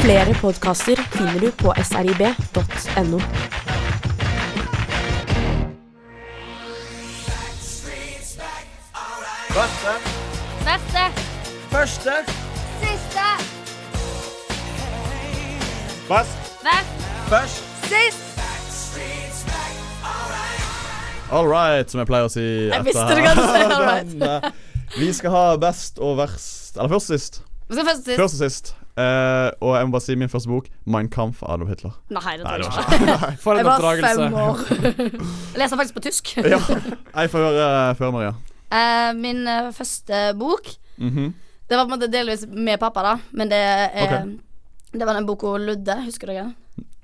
Speaker 4: Flere podkaster finner du på srib.no.
Speaker 3: Neste
Speaker 5: Første
Speaker 3: Siste
Speaker 2: Best.
Speaker 3: Neste
Speaker 5: Først
Speaker 3: Sist
Speaker 2: All right, som jeg pleier å si
Speaker 3: Jeg
Speaker 2: etter
Speaker 3: visste det
Speaker 2: her.
Speaker 3: kanskje all right.
Speaker 2: Men, eh, Vi skal ha best og verst Eller først og sist.
Speaker 3: Vi skal først sist
Speaker 2: Først og sist. Eh, og jeg må bare si min første bok, 'Mein Kampf' av Adolf Hitler.
Speaker 3: Nei, det
Speaker 2: Nei,
Speaker 3: tror
Speaker 2: det
Speaker 3: jeg ikke
Speaker 2: var ikke
Speaker 5: For
Speaker 3: Jeg
Speaker 5: en
Speaker 3: var fem
Speaker 5: oppdragelse.
Speaker 3: år Jeg leser faktisk på tysk
Speaker 2: Ja. Jeg får høre eh, før Maria.
Speaker 3: Eh, Min eh, første bok
Speaker 2: Mhm.
Speaker 3: Det var på en måte delvis med pappa, da. Men det er
Speaker 2: Ok.
Speaker 3: Det var den boka Ludde, husker dere?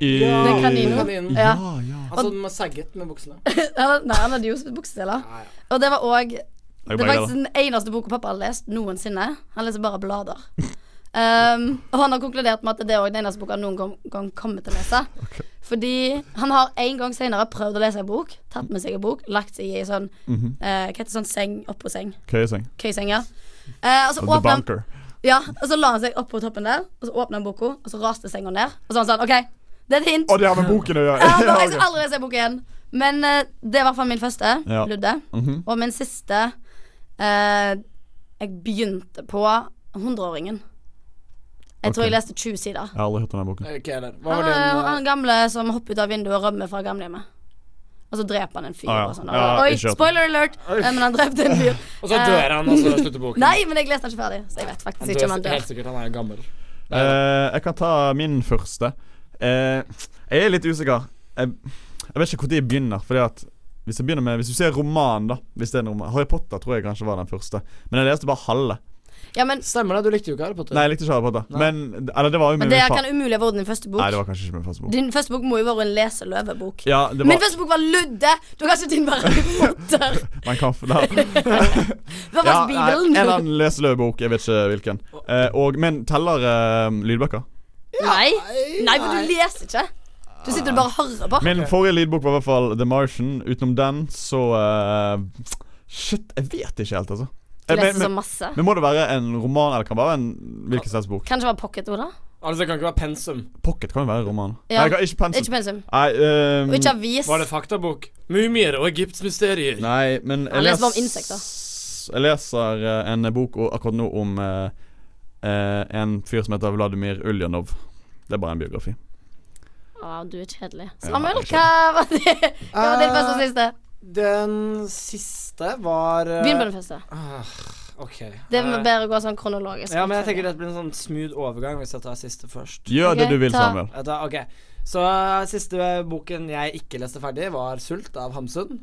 Speaker 2: I-
Speaker 3: Den kaninen.
Speaker 5: Kaninen.
Speaker 2: Ja,
Speaker 3: Ja.
Speaker 2: ja.
Speaker 5: Altså, den var sagget med buksene.
Speaker 3: Eller, Nei, han hadde jo bukseseler.
Speaker 5: Ja, ja.
Speaker 3: Og det var òg
Speaker 2: Jeg
Speaker 3: Det
Speaker 2: bare
Speaker 3: var
Speaker 2: gleder
Speaker 3: faktisk den eneste boka pappa har lest noensinne. Han leser bare blader. Um, og han har konkludert med at det er også den eneste boka han noen gang, gang kommer til å lese. Fordi han har en gang senere prøvd å lese en bok, tatt med seg en bok, lagt seg i sånn
Speaker 2: Mhm.
Speaker 3: eh, Hva heter sånn seng oppå seng?
Speaker 2: Køyeseng.
Speaker 3: Køyseng, ja. Eh, og så
Speaker 2: Altså, The
Speaker 3: åpner han
Speaker 2: Bunker.
Speaker 3: Ja, og så la han seg opp på toppen der, og så åpna han boka, og så raste senga ned. Og så han sånn, OK, det er et hint.
Speaker 2: Å, det har med boken å gjøre.
Speaker 3: Ja, bare, jeg
Speaker 2: ok.
Speaker 3: skal aldri lese boka igjen. Men eh, det er i hvert fall min første,
Speaker 2: Ja.
Speaker 3: Ludde.
Speaker 2: Mhm.
Speaker 3: Og min siste eh, Jeg begynte på 100-åringen. Jeg tror
Speaker 2: Ok.
Speaker 3: jeg leste 20 sider.
Speaker 2: Jeg har aldri hørt om den boken.
Speaker 5: Ikke jeg heller. Hva
Speaker 3: Han,
Speaker 5: var
Speaker 3: Eh, han, eh,
Speaker 5: din
Speaker 3: han gamle som hopper ut av vinduet og rømmer fra gamlehjemmet. Og så dreper han en fyr.
Speaker 2: Ah, ja.
Speaker 3: og sånn.
Speaker 2: Ja,
Speaker 3: Oi,
Speaker 2: ikke sant.
Speaker 3: spoiler alert!
Speaker 5: Oi.
Speaker 3: Eh, Men han drepte en fyr.
Speaker 5: Og så dør han, og så slutter boken.
Speaker 3: eh, Nei, men jeg leste den ikke ferdig, så jeg vet
Speaker 5: Han
Speaker 3: faktisk ikke om han
Speaker 5: dør
Speaker 3: dør.
Speaker 5: helt sikkert. Han er jo gammel.
Speaker 2: Eh, jeg kan ta min første. Eh, jeg er litt usikker. Jeg, jeg vet ikke når jeg begynner. Fordi at Hvis jeg begynner med Hvis du ser roman, da Hvis det er en roman Harry Potter tror jeg kanskje var den første. Men jeg leste bare halve.
Speaker 3: Ja, men,
Speaker 5: Stemmer det, du likte jo ikke Harry Potter.
Speaker 2: Nei, jeg likte ikke Harry Potter.
Speaker 5: Nei.
Speaker 2: Men Eller det var jo
Speaker 3: men
Speaker 2: min
Speaker 3: det
Speaker 2: far.
Speaker 3: kan umulig ha vært din første bok.
Speaker 2: Nei, det var kanskje ikke min første bok.
Speaker 3: Din første bok må jo være en leseløvebok.
Speaker 2: Ja, det
Speaker 3: Min
Speaker 2: var
Speaker 3: første bok var Ludde! Du har kanskje din var Harry Potter.
Speaker 2: Mein Kampf. Da.
Speaker 3: Det var
Speaker 2: Ja,
Speaker 3: faktisk
Speaker 2: nei, en eller
Speaker 3: Bibelen.
Speaker 2: annen leseløvbok. Jeg vet ikke hvilken. Eh, og, men teller eh, lydbøker?
Speaker 3: Nei. Nei, for du leser ikke. Du sitter og bare hører på.
Speaker 2: Min forrige lydbok var i hvert fall The Martian. Utenom den, så eh, Shit, jeg vet ikke helt, altså. Eh,
Speaker 3: Du
Speaker 2: men,
Speaker 3: leser så
Speaker 2: men,
Speaker 3: masse.
Speaker 2: men må det være en roman, eller kan det være en hvilken slags bok?
Speaker 3: Kanskje det var pocketord, da?
Speaker 5: Altså, det kan ikke være pensum.
Speaker 2: Pocket kan jo være en roman.
Speaker 3: Ja.
Speaker 2: Nei, ikke pensel.
Speaker 3: Ikke pensum.
Speaker 2: Nei, ehm,
Speaker 3: Og ikke avis.
Speaker 5: Var det faktabok? Mumier og Egypts mysterier.
Speaker 2: nei, men jeg
Speaker 3: Han leser bare om
Speaker 2: les- Jeg leser eh, en bok o- akkurat nå om eh, eh, en fyr som heter Vladimir Ulyanov. Det er bare en biografi.
Speaker 3: Å, du er kjedelig. Samuel, hva var det? Hva var din første og siste?
Speaker 1: Eh, Den siste var eh,
Speaker 3: Begynn på den første.
Speaker 1: ah, OK.
Speaker 3: Det er
Speaker 1: Eh,
Speaker 3: bedre å gå sånn kronologisk.
Speaker 1: Ja, men jeg tenker det blir en sånn smooth overgang hvis jeg tar siste først.
Speaker 2: Gjør
Speaker 3: Ok,
Speaker 2: det du vil,
Speaker 3: ta.
Speaker 2: Samuel.
Speaker 1: Jeg tar- ok. Så eh, siste boken jeg ikke leste ferdig, var 'Sult' av Hamsun.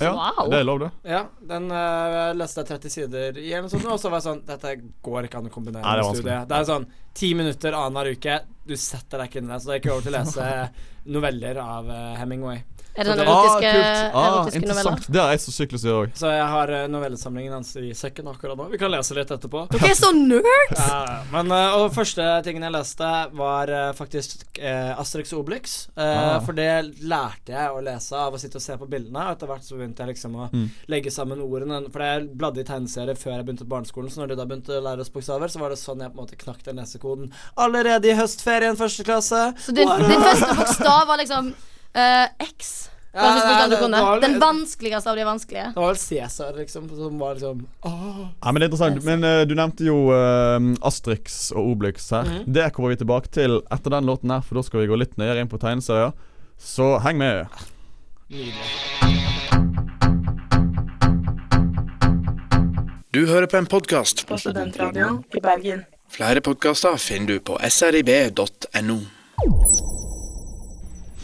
Speaker 2: Ja,
Speaker 3: Wow.
Speaker 2: Det er lov, det.
Speaker 1: Ja, den eh, leste jeg 30 sider i, eller noe sånt, og så var jeg sånn Dette går ikke an å kombinere
Speaker 2: Nei, det er
Speaker 1: med studiet. Det er sånn ti minutter annenhver uke, du setter deg ikke inn i det, så det er ikke over til å lese noveller av eh, Hemingway.
Speaker 3: Er det den
Speaker 1: Ah,
Speaker 3: erotiske,
Speaker 2: Ah,
Speaker 3: erotiske noveller?
Speaker 2: interessant. Det har jeg som syklus i òg.
Speaker 1: Så jeg har eh, novellesamlingen hans i sekken akkurat nå. Vi kan lese litt etterpå.
Speaker 3: Dere er så nerd!
Speaker 1: Ja, men eh, Og første tingen jeg leste, var eh, faktisk eh, Asterix og Obelix. Eh,
Speaker 2: Ah.
Speaker 1: For det lærte jeg å lese av å sitte og se på bildene. Og etter hvert så begynte jeg liksom å
Speaker 2: Mm.
Speaker 1: legge sammen ordene. For jeg bladde i tegneserier før jeg begynte på barneskolen, så når de da begynte å lære oss bokstaver, så var det sånn jeg på en måte knakk den lesekoden allerede i høstferien første klasse.
Speaker 3: Så din, din første bokstav var liksom eh, X. Det var den første
Speaker 1: Ja,
Speaker 3: bokstaven du
Speaker 1: det-
Speaker 3: kunne.
Speaker 1: det var-
Speaker 3: Den vanskeligste av de vanskelige.
Speaker 1: Det var vel Cæsar, liksom, som var liksom
Speaker 2: Ja, men det er interessant. Men eh, du nevnte jo eh, Astrix og Obelix her.
Speaker 3: Mhm.
Speaker 2: Det kommer vi tilbake til etter den låten her, for da skal vi gå litt nøyere inn på tegneserier. Så heng med.
Speaker 6: Du hører på en podkast.
Speaker 7: på Studentradioen i Bergen.
Speaker 6: Flere podkaster finner du på srib.no.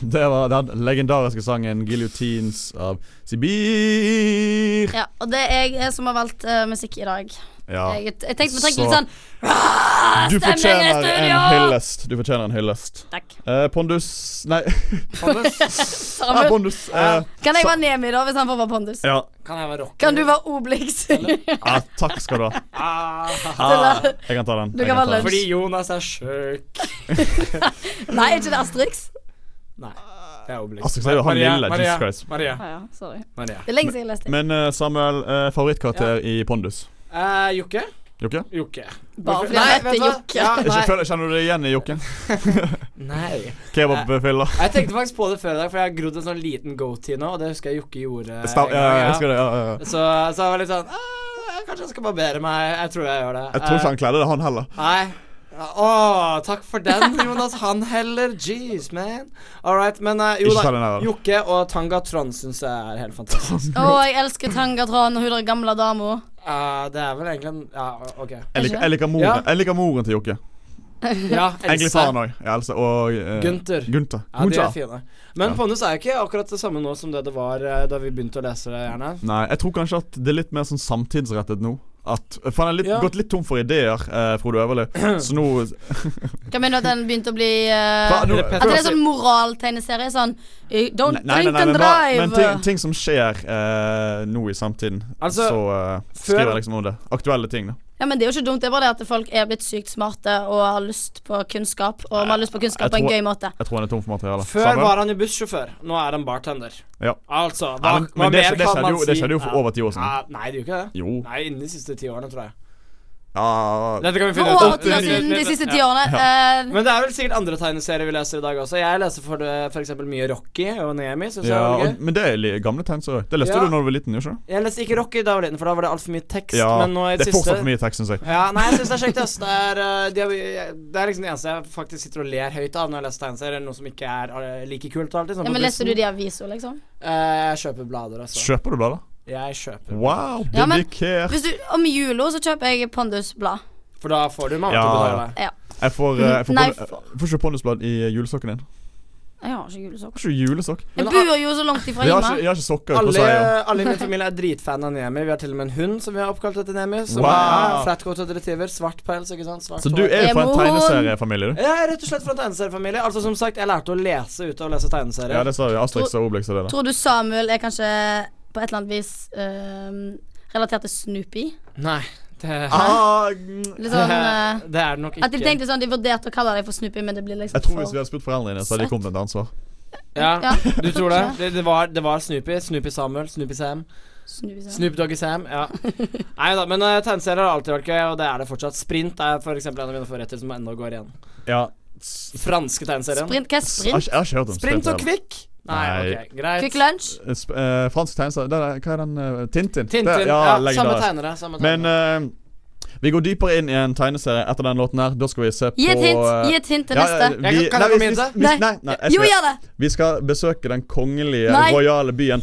Speaker 2: Det var den legendariske sangen 'Guillotines' av Sibir.
Speaker 3: Ja, og det er jeg som har valgt eh, musikk i dag.
Speaker 2: Ja.
Speaker 3: Jeg, jeg tenkte vi trengte litt
Speaker 2: Så-
Speaker 3: sånn «Rah,
Speaker 2: Du
Speaker 3: stemning i
Speaker 2: fortjener en
Speaker 3: studio!»
Speaker 2: hyllest. Du fortjener en hyllest.
Speaker 3: Takk.
Speaker 2: Eh, Pondus Nei,
Speaker 1: Pondus,
Speaker 2: ah,
Speaker 3: Samuel,
Speaker 2: Pondus. eh,
Speaker 3: kan jeg være Nemi, da, hvis han får være Pondus?
Speaker 2: ja.
Speaker 1: kan jeg være rocker?
Speaker 3: Kan du være Obelix? du
Speaker 2: ja, takk skal du ha.
Speaker 3: la-
Speaker 2: Jeg kan ta den.
Speaker 3: Du
Speaker 2: Jeg
Speaker 3: kan
Speaker 2: ta
Speaker 3: være
Speaker 2: den.
Speaker 1: Fordi Jonas er sjuk.
Speaker 3: Nei, er ikke det Asterix?
Speaker 1: Nei, det er Obelix.
Speaker 2: Asterix er jo han
Speaker 1: Maria,
Speaker 2: lille, Jesus
Speaker 1: Maria,
Speaker 2: Christ.
Speaker 1: Maria,
Speaker 3: Ah, ja, sorry.
Speaker 1: Maria.
Speaker 3: Det er lenge siden jeg leste.
Speaker 2: Men eh, Samuel, eh, favorittkarakter i Pondus?
Speaker 1: Eh, Jokke?
Speaker 2: Jokke?
Speaker 1: Jokke.
Speaker 3: Bare fordi han heter Jokke.
Speaker 2: Ikke
Speaker 1: Ja,
Speaker 2: føler, Kjenner du deg igjen i Jokken?
Speaker 1: nei. nei.
Speaker 2: Kebabfylla.
Speaker 1: Jeg tenkte faktisk på det før i dag, for jeg har grodd en sånn liten goatee nå, og det husker jeg Jokke gjorde. eh,
Speaker 2: Stem-
Speaker 1: en
Speaker 2: Ja,
Speaker 1: gang,
Speaker 2: ja,
Speaker 1: ja.
Speaker 2: jeg husker det. Ja, ja, ja.
Speaker 1: Så, så jeg var litt sånn «Ah, Kanskje jeg skal barbere meg. Jeg tror jeg gjør det.
Speaker 2: Jeg tror
Speaker 1: Eh,
Speaker 2: ikke han kledde det, han heller.
Speaker 1: Nei. Å, takk for den, Jonas. Han heller. Jeez, man. All right, men eh, jo
Speaker 2: Ikke ta den
Speaker 1: da.
Speaker 2: her, da.
Speaker 1: Jokke og Tanga Trond syns jeg er helt fantastisk.
Speaker 3: Å, jeg elsker Tangatron og hun der gamle dama.
Speaker 1: Eh, det er vel egentlig en Ja, OK.
Speaker 2: Jeg liker, jeg liker, moren,
Speaker 1: Ja.
Speaker 2: jeg liker moren til Jokke.
Speaker 1: Ja,
Speaker 2: Egentlig
Speaker 1: Else.
Speaker 2: faren òg. Ja, Else og eh,
Speaker 1: Gunther.
Speaker 2: Gunther.
Speaker 1: Ja, de
Speaker 2: Gunther.
Speaker 1: er fine. Men pondus er jo ikke akkurat det samme nå som det det var eh, da vi begynte å lese det. gjerne
Speaker 2: Nei, jeg tror kanskje at det er litt mer sånn samtidsrettet nå. At, eh, for han er litt,
Speaker 1: Ja.
Speaker 2: gått litt tom for ideer, eh, Frode Øverli. Så nå
Speaker 3: Hva mener du at den begynte å bli eh,
Speaker 2: Hva, nå-
Speaker 1: Eller Petter
Speaker 3: At det er
Speaker 1: Åsli-
Speaker 3: sånn moraltegneserie? Sånn eh, Don't
Speaker 2: Nei, nei, nei,
Speaker 3: drink
Speaker 2: men,
Speaker 3: and
Speaker 2: hva- men ting,
Speaker 3: drive.
Speaker 2: ting som skjer eh, nå i samtiden,
Speaker 1: Altså,
Speaker 2: så eh,
Speaker 1: før-
Speaker 2: skriver jeg liksom om det. Aktuelle ting, da.
Speaker 3: Ja, men Det er jo ikke dumt. Det er bare det at folk er blitt sykt smarte og har lyst på kunnskap. Og man har lyst på kunnskap
Speaker 2: jeg
Speaker 3: på en
Speaker 2: tror-
Speaker 3: gøy måte.
Speaker 2: Jeg tror han er tom for materiale.
Speaker 1: Før var han jo bussjåfør, nå er han bartender.
Speaker 2: Ja.
Speaker 1: Altså, hva,
Speaker 2: Nei, men-
Speaker 1: hva
Speaker 2: men det
Speaker 1: mer
Speaker 2: skj- det
Speaker 1: kan
Speaker 2: skjedde
Speaker 1: man
Speaker 2: jo-
Speaker 1: si?
Speaker 2: det skjedde jo for
Speaker 1: Ja.
Speaker 2: over ti år siden.
Speaker 1: Ja, Nei, det gjorde ikke det.
Speaker 2: Jo.
Speaker 1: Nei, innen de siste ti årene, tror jeg.
Speaker 2: Ja,
Speaker 1: Dette kan vi
Speaker 3: For
Speaker 1: finne
Speaker 3: over
Speaker 1: ut
Speaker 3: ti
Speaker 1: av.
Speaker 3: år siden, de siste ti
Speaker 1: Ja.
Speaker 3: årene. eh,
Speaker 1: Men det er vel sikkert andre tegneserier vi leser i dag også. Jeg leser for, det- for eksempel mye Rocky og Nemi. Synes
Speaker 2: ja,
Speaker 1: jeg, var
Speaker 2: og,
Speaker 1: gøy.
Speaker 2: men det er li- gamle tegn, så Det leste
Speaker 1: Ja.
Speaker 2: du da du var liten, ikke sant?
Speaker 1: jeg leste ikke Rocky da jeg var liten, for da var det altfor mye tekst.
Speaker 2: Ja,
Speaker 1: men nå i
Speaker 2: det er
Speaker 1: siste
Speaker 2: fortsatt for mye tekst, syns jeg.
Speaker 1: Ja, nei, jeg syns det er kjekt. ass. Det er, eh, de har- det er liksom det eneste jeg faktisk sitter og ler høyt av når jeg leser tegneserier. Noe som ikke er eh, like kult alltid. Sånn
Speaker 3: ja,
Speaker 1: på
Speaker 3: men Leser
Speaker 1: bussen.
Speaker 3: du de i avisa, liksom?
Speaker 1: Eh, jeg kjøper blader, altså.
Speaker 2: Kjøper du blader?
Speaker 1: Jeg kjøper.
Speaker 2: Wow,
Speaker 3: Ja, men-
Speaker 2: dedikert.
Speaker 3: Hvis du, Om jula så kjøper jeg Pondus-blad.
Speaker 1: For da får du mamma
Speaker 2: Ja,
Speaker 1: til å betale.
Speaker 3: Ja.
Speaker 2: Jeg får, eh, jeg får,
Speaker 3: Nei,
Speaker 2: pon- jeg får ikke pondusblad i julesokken din.
Speaker 3: Jeg har ikke julesokker.
Speaker 2: Har ikke du julesokk?
Speaker 3: Jeg
Speaker 1: Men
Speaker 3: bor jo så langt ifra
Speaker 2: Jeg
Speaker 3: hjemme.
Speaker 2: har ikke, jeg har ikke sokker på
Speaker 1: Alle,
Speaker 2: seg.
Speaker 1: alle i min familie er dritfan av Nemi. Vi har til og med en hund som vi har oppkalt etter Nemi. Som
Speaker 2: Wow.
Speaker 1: er flatcoated retriever. Svart pels, ikke sant. Svart
Speaker 2: Så du
Speaker 1: hår.
Speaker 2: er jo fra en
Speaker 3: Emon.
Speaker 2: tegneseriefamilie, du.
Speaker 1: Jeg er rett og slett fra en tegneseriefamilie. Altså Som sagt, jeg lærte å lese ut av å lese tegneserier.
Speaker 2: Ja, det sa du. Astrix og Obelix er det. da.
Speaker 3: Tror du Samuel er kanskje på et eller annet vis øhm, relatert til Snoopy?
Speaker 1: Nei, det,
Speaker 2: Ah, mm,
Speaker 3: Litt sånn eh,
Speaker 1: det er det nok ikke.
Speaker 3: At de tenkte sånn, de vurderte å kalle deg for Snoopy, men det blir liksom
Speaker 2: jeg tror
Speaker 3: for
Speaker 2: hvis vi hadde spurt foreldrene dine, så hadde de kommet med et ansvar.
Speaker 1: ja.
Speaker 3: Ja,
Speaker 1: Du tror det? Det, det, var, det var Snoopy. Snoopy Samuel. Snoopy Sam.
Speaker 3: Snoopy, sa jeg.
Speaker 1: Snoop Doggy Sam. Ja. Nei da, men eh, tegneserier har alltid vært gøy, og det er det fortsatt. Sprint er for eksempel en av mine forretter som ennå går igjen.
Speaker 2: Ja.
Speaker 1: Franske tegneserien.
Speaker 3: Sprint, hva er
Speaker 2: Jeg
Speaker 3: sprint?
Speaker 2: har ikke- jeg har ikke hørt om
Speaker 1: Sprint og
Speaker 2: heller.
Speaker 1: Kvikk. Nei,
Speaker 2: Nei.
Speaker 1: ok, greit.
Speaker 3: Quick Lunch?
Speaker 2: Eh, sp- eh, fransk tegneserie det er- Hva er den? eh, Tintin?
Speaker 1: Tintin.
Speaker 2: Det-
Speaker 1: ja,
Speaker 2: legg
Speaker 1: samme
Speaker 2: det.
Speaker 1: tegnere. Samme tegnere.
Speaker 2: Men eh, Vi går dypere inn i en tegneserie etter den låten her. Da skal vi se på
Speaker 3: Gi et hint.
Speaker 2: eh,
Speaker 3: Gi et hint til
Speaker 2: ja, ja,
Speaker 3: neste.
Speaker 2: vi-
Speaker 5: Jeg kan- kan jeg
Speaker 2: nei,
Speaker 5: gå
Speaker 2: vi-
Speaker 5: med
Speaker 2: vi- Nei, nei, jeg
Speaker 3: Jo,
Speaker 2: skal-
Speaker 3: gjør det.
Speaker 2: Vi skal besøke den kongelige,
Speaker 3: Nei.
Speaker 2: rojale byen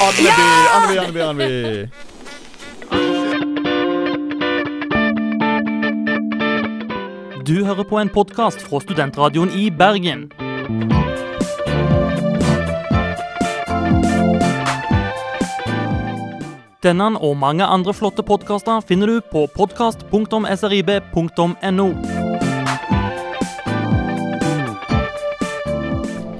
Speaker 2: Andeby, Andeby, Andeby, Andeby.
Speaker 8: Du hører på en podkast fra studentradioen i Bergen. Denne og mange andre flotte podkaster finner du på podkast.srib.no.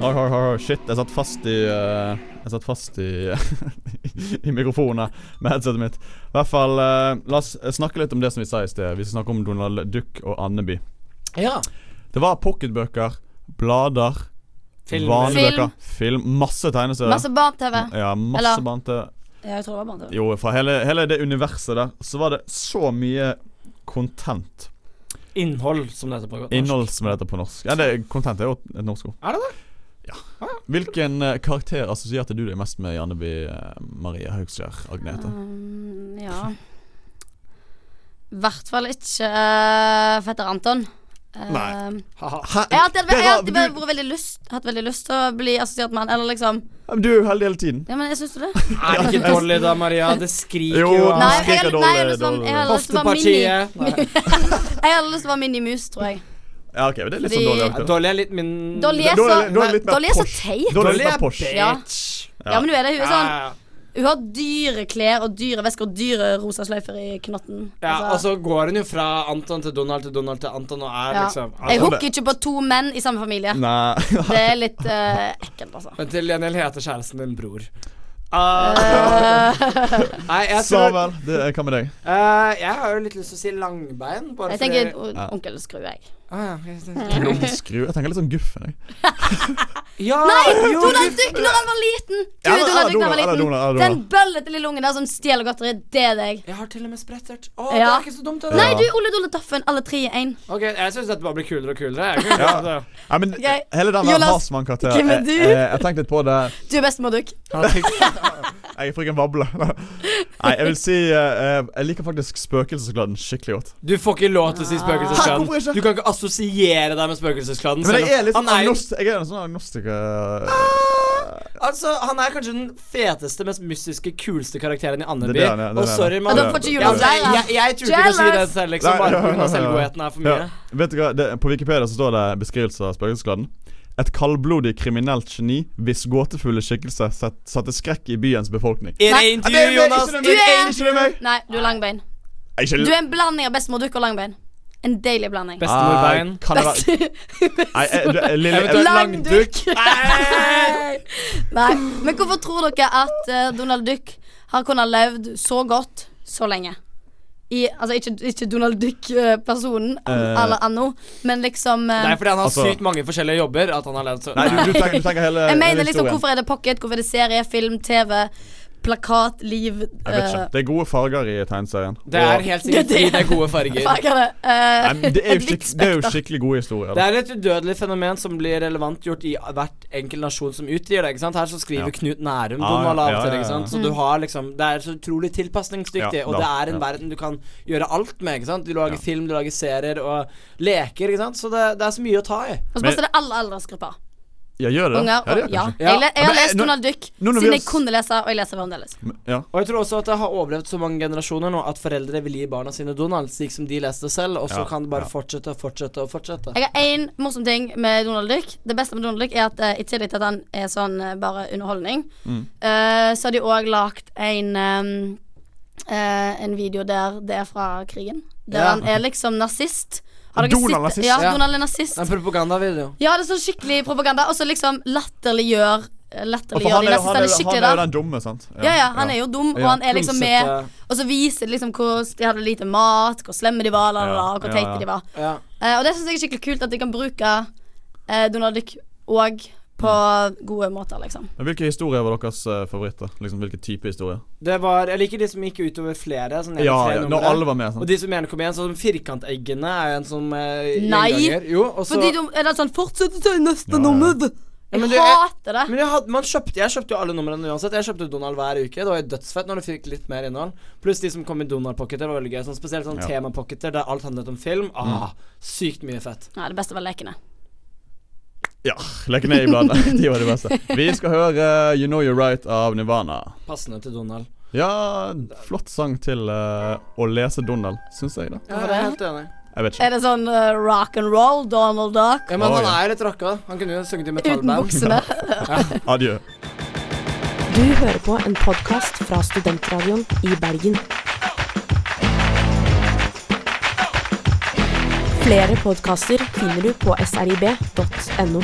Speaker 2: Har, har, har, har. Shit, jeg satt fast i eh, Jeg satt fast i I mikrofonen her med headsetet mitt. I hvert fall, eh, la oss snakke litt om det som vi sa i sted. Vi skal snakke om Donald Duck og Andeby.
Speaker 1: Ja.
Speaker 2: Det var pocketbøker, blader,
Speaker 1: Filmer.
Speaker 2: vanlige
Speaker 3: Film.
Speaker 2: bøker, film, masse tegneserier.
Speaker 3: Masse barne-TV.
Speaker 2: ja, masse
Speaker 3: Eller-
Speaker 2: bante.
Speaker 3: Ja, jeg tror det var barne-TV.
Speaker 2: Jo, fra hele, hele det universet der, så var det så mye content.
Speaker 1: Innhold, som det heter på godt norsk.
Speaker 2: Innhold som er dette på norsk. Ja, det, content er jo et norsk ord.
Speaker 1: Er det Ah, det?
Speaker 2: Hvilken eh, karakter assosierte du deg mest med i Andeby eh, Marie Haugskjær Agnete?
Speaker 1: Ah.
Speaker 2: Mm,
Speaker 3: Um, ja. I hvert fall ikke eh, fetter Anton. Eh,
Speaker 2: Nei.
Speaker 1: Haha.
Speaker 2: Hæ?
Speaker 3: Jeg har alltid,
Speaker 2: Det
Speaker 3: jeg har
Speaker 2: var-
Speaker 3: alltid
Speaker 2: du-
Speaker 3: vært veldig lyst, hatt veldig lyst til å bli assosiert med han. Eller liksom
Speaker 2: Ja, men Du er jo heldig hele tiden.
Speaker 3: Ja, men jeg syns du det?
Speaker 1: Er det ikke dårlig da, Maria? Det skriker
Speaker 2: Jo,
Speaker 1: jo,
Speaker 2: det
Speaker 1: av
Speaker 3: Nei,
Speaker 2: skriker
Speaker 3: jeg, har-
Speaker 2: Ah, dårlig,
Speaker 3: nei, jeg har lyst til å- jeg har lyst til å være mini.
Speaker 1: hoftepartiet. Nei.
Speaker 3: Jeg har lyst til å være Mini Mus, tror jeg.
Speaker 2: Ja, ok, men Det er litt
Speaker 3: Fordi-
Speaker 2: sånn dårlig
Speaker 1: Ja,
Speaker 2: aktor.
Speaker 1: Dolly er litt min
Speaker 3: Dolly
Speaker 2: Da-
Speaker 3: er så,
Speaker 2: da er det- da er det litt mer
Speaker 3: Dolly er så
Speaker 2: posh.
Speaker 3: teit.
Speaker 2: Da er det
Speaker 1: Dolly
Speaker 2: litt
Speaker 1: er
Speaker 2: mer posh.
Speaker 3: Ja.
Speaker 1: bitch.
Speaker 3: Ja, men du er det. Hun er sånn
Speaker 1: Ja,
Speaker 3: Hun har dyre klær og dyre vesker og dyre rosa sløyfer i knotten. Altså,
Speaker 1: ja, altså, og så går hun jo fra Anton til Donald til Donald til Anton og er
Speaker 3: ja.
Speaker 1: liksom
Speaker 3: Jeg
Speaker 1: altså,
Speaker 3: hooker ikke på to menn i samme familie.
Speaker 2: Nei
Speaker 3: Det er litt eh, ekkelt, altså.
Speaker 1: Men til gjengjeld heter kjæresten din bror.
Speaker 3: Eh.
Speaker 1: Nei, jeg tror
Speaker 2: Samuel, det er hva med deg?
Speaker 1: Eh, Jeg har jo litt lyst til å si langbein, bare
Speaker 3: Jeg
Speaker 1: fordi
Speaker 3: tenker Eh. o- onkel Skru, jeg.
Speaker 1: Ah, ja.
Speaker 2: Skru, jeg tenker litt sånn guffen, jeg.
Speaker 1: ja,
Speaker 3: Nei!
Speaker 1: jo,
Speaker 3: Donald
Speaker 1: du-
Speaker 3: Duck når han var liten! Du
Speaker 2: Ja,
Speaker 3: er Donald
Speaker 2: men-
Speaker 3: Duck
Speaker 2: eller
Speaker 3: når han var
Speaker 2: Donald, eller
Speaker 3: liten.
Speaker 2: Donald, eller
Speaker 3: Den
Speaker 2: Donald.
Speaker 3: bøllete lille ungen der som stjeler godteriet, det er deg.
Speaker 1: Jeg har til og med sprettert. Å, det
Speaker 3: Ja.
Speaker 1: er ikke så dumt. Det.
Speaker 3: Nei, du Ole Dole Taffen. Alle tre i én.
Speaker 1: Ok, Jeg syns dette bare blir kulere og kulere. Jeg
Speaker 2: Ja.
Speaker 1: Altså. kan ikke det.
Speaker 2: Ja, men
Speaker 3: Ok.
Speaker 2: Hele den der
Speaker 3: Jonas,
Speaker 2: Hasman-karakteren
Speaker 3: hvem er
Speaker 2: jeg,
Speaker 3: du?
Speaker 2: jeg, jeg tenkte litt på det.
Speaker 3: Du er bestemor Duck.
Speaker 2: Jeg er frøken Vable. Nei, jeg vil si eh, eh, Jeg liker faktisk Spøkelsesgladden skikkelig godt.
Speaker 1: Du får ikke lov til å si
Speaker 3: Ah.
Speaker 2: Hæ, hvorfor ikke?
Speaker 1: Spøkelseskladden. Du kan ikke assosiere deg med Spøkelseskladden.
Speaker 2: Men jeg
Speaker 1: selv om-
Speaker 2: er litt sånn
Speaker 1: han, er jo,
Speaker 2: agnost, Jeg er en sånn eh, agnostiker
Speaker 1: altså, han er kanskje den feteste, mest mystiske, kuleste karakteren i Andeby.
Speaker 2: Det er det han er, det er
Speaker 1: Og
Speaker 2: det han er.
Speaker 1: sorry,
Speaker 3: Ja,
Speaker 1: mann.
Speaker 3: da får ikke
Speaker 1: Ja,
Speaker 3: Jonas
Speaker 1: altså, jeg,
Speaker 3: deg, da.
Speaker 1: jeg, jeg turte ikke å si det
Speaker 3: Jealous!
Speaker 1: selv, liksom, bare pga. selvgodheten er for mye.
Speaker 2: Ja. Vet du hva, det, På Wikipedia så står det beskrivelse av Spøkelsesgladden. Et kaldblodig kriminelt geni hvis gåtefulle skikkelser set, satte skrekk i byens befolkning.
Speaker 1: It
Speaker 3: Nei,
Speaker 1: ain't
Speaker 2: det er- det
Speaker 1: you,
Speaker 2: er
Speaker 1: Jonas.
Speaker 2: ikke
Speaker 3: Du
Speaker 1: It
Speaker 3: er-
Speaker 1: ain't you.
Speaker 3: Nei, du er langbein.
Speaker 2: Jeg er
Speaker 3: Du
Speaker 2: ikke
Speaker 3: er en blanding av bestemor Duck og langbein. En deilig blanding.
Speaker 1: Bestemorbein.
Speaker 2: Ah, Kan det være Nei, jeg- du- jeg- lille, jeg,
Speaker 1: Eventuelt langdukk.
Speaker 3: Nei. Nei. Men hvorfor tror dere at eh, Donald Duck har kunnet levd så godt så lenge? I, altså ikke, ikke Donald Duck-personen
Speaker 2: Eh.
Speaker 3: eller anno, men liksom eh,
Speaker 1: Det er fordi han har
Speaker 2: Altså-
Speaker 1: sykt mange forskjellige jobber at han har levd så
Speaker 2: nei, du, du, tenker, du tenker hele,
Speaker 3: Jeg
Speaker 2: hele
Speaker 3: mener liksom,
Speaker 2: historien.
Speaker 3: hvorfor er det pocket? Hvorfor er det serie, film, TV, plakat, liv eh,
Speaker 2: Jeg vet ikke. Det er gode farger i tegneserien.
Speaker 1: Det
Speaker 2: Og-
Speaker 1: er helt sikkert
Speaker 3: Det-
Speaker 1: fordi det er gode farger.
Speaker 3: Hva er det? Eh,
Speaker 2: Nei, men det, er jo
Speaker 3: et
Speaker 2: skikk,
Speaker 3: vidt
Speaker 2: det er jo
Speaker 3: spekter.
Speaker 2: skikkelig gode historier.
Speaker 1: Det
Speaker 2: Da.
Speaker 1: er et udødelig fenomen som blir relevant gjort i hvert enkelt nasjon som utgir det. ikke sant? Her så skriver
Speaker 2: Ja.
Speaker 1: Knut Nærum
Speaker 2: Ja,
Speaker 1: Donald
Speaker 2: ja,
Speaker 1: av og
Speaker 2: ja,
Speaker 1: til.
Speaker 2: ja,
Speaker 1: ikke sant? Så du har liksom, Det er så utrolig tilpasningsdyktig,
Speaker 2: Ja,
Speaker 1: og
Speaker 2: da,
Speaker 1: det er en
Speaker 2: ja.
Speaker 1: verden du kan gjøre alt med. ikke sant? Du lager
Speaker 2: Ja.
Speaker 1: film, du lager serier og leker. ikke sant? Så det, det er så mye å ta i.
Speaker 3: Og så passer det alle aldersgrupper.
Speaker 2: Ja, gjør det?
Speaker 3: Unger
Speaker 2: ja, det
Speaker 3: og
Speaker 2: gjør
Speaker 3: ja.
Speaker 2: kanskje.
Speaker 3: Jeg, le- jeg
Speaker 2: Ja, men,
Speaker 3: har
Speaker 2: eh,
Speaker 3: lest
Speaker 2: nå-
Speaker 3: Donald Duck
Speaker 2: nå når vi
Speaker 3: siden
Speaker 2: har
Speaker 3: jeg
Speaker 2: s-
Speaker 3: kunne lese, og jeg leser fremdeles.
Speaker 2: Ja.
Speaker 1: Og jeg tror også at det har overlevd så mange generasjoner nå at foreldre vil gi barna sine Donald, slik som de leste selv, og så
Speaker 2: Ja,
Speaker 1: kan det bare
Speaker 2: ja.
Speaker 1: fortsette og fortsette og fortsette.
Speaker 3: Jeg har én morsom ting med Donald Duck. Det beste med Donald Duck er at eh, i tillegg til at han er sånn eh, bare underholdning,
Speaker 2: Mm.
Speaker 3: eh, så har de òg lagd en ehm, eh, En video der det er fra krigen. Der
Speaker 1: Ja.
Speaker 3: han er liksom nazist.
Speaker 2: Donald nazist?
Speaker 3: Ja,
Speaker 1: Ja.
Speaker 3: Donald er nazist.
Speaker 1: En propagandavideo.
Speaker 3: Ja, det er sånn skikkelig propaganda. Og så liksom latterliggjør eh,
Speaker 2: Og for
Speaker 3: Latterliggjør de
Speaker 2: jo-
Speaker 3: nazistene
Speaker 2: jo-
Speaker 3: skikkelig,
Speaker 2: han er jo
Speaker 3: da.
Speaker 2: den dumme, sant?
Speaker 3: Ja, ja, han er jo dum, og
Speaker 2: Ja,
Speaker 3: han er liksom med
Speaker 1: klumsete.
Speaker 3: Og så viser det liksom hvordan de hadde lite mat, hvor slemme de var, la, la, la, og hvor
Speaker 2: Ja, ja,
Speaker 3: teite
Speaker 2: ja.
Speaker 3: de var.
Speaker 1: Ja.
Speaker 3: Eh, og det syns jeg er skikkelig kult at de kan bruke eh, Donald Duck òg på gode måter, liksom.
Speaker 2: Men Hvilke historier var deres eh, favoritter? Liksom, Hvilke type historier?
Speaker 1: Det var, Jeg liker de som gikk utover flere. Sånn
Speaker 2: Ja,
Speaker 1: tre
Speaker 2: ja, når
Speaker 1: numre.
Speaker 2: alle var med.
Speaker 1: Og
Speaker 2: Sant?
Speaker 1: de som gjerne kom igjen, sånn som Firkanteggene er jo en som eh,
Speaker 3: Nei.
Speaker 1: gjenganger. Jo, og så
Speaker 3: Fordi de, er det sånn 'Fortsett å tegne neste nummer'.
Speaker 1: Ja,
Speaker 3: Jeg
Speaker 1: men du, jeg-
Speaker 3: hater det.
Speaker 1: Men jeg, hadde, man kjøpte, jeg kjøpte jo alle numrene uansett. Jeg kjøpte Donald hver uke. Det var jo dødsfett når du fikk litt mer innhold. Pluss de som kom i Donald-pocketer. var veldig gøy sånn, Spesielt sånn
Speaker 2: Ja. Mm.
Speaker 1: temapocketer der alt handlet om film. Ah, Sykt mye fett.
Speaker 3: Nei, det beste var lekene.
Speaker 2: Ja, legg ned i bladet. De var det beste. Vi skal høre eh, You Know You're Right av Nirvana.
Speaker 1: Passende til Donald.
Speaker 2: Ja, flott sang til eh, å lese Donald, syns jeg, da.
Speaker 1: Ja, jeg er helt enig.
Speaker 2: Jeg vet ikke.
Speaker 3: Er det sånn eh, rock and roll, Donald Duck?
Speaker 1: Ja, men
Speaker 2: Å,
Speaker 1: han
Speaker 2: ja.
Speaker 1: er jo litt rocka. Han kunne jo sunget i
Speaker 3: Uten
Speaker 1: metallband.
Speaker 3: buksene. Eh.
Speaker 2: Adjø.
Speaker 4: Du hører på en podkast fra Studentradioen i Bergen. Flere podkaster finner du på srib.no.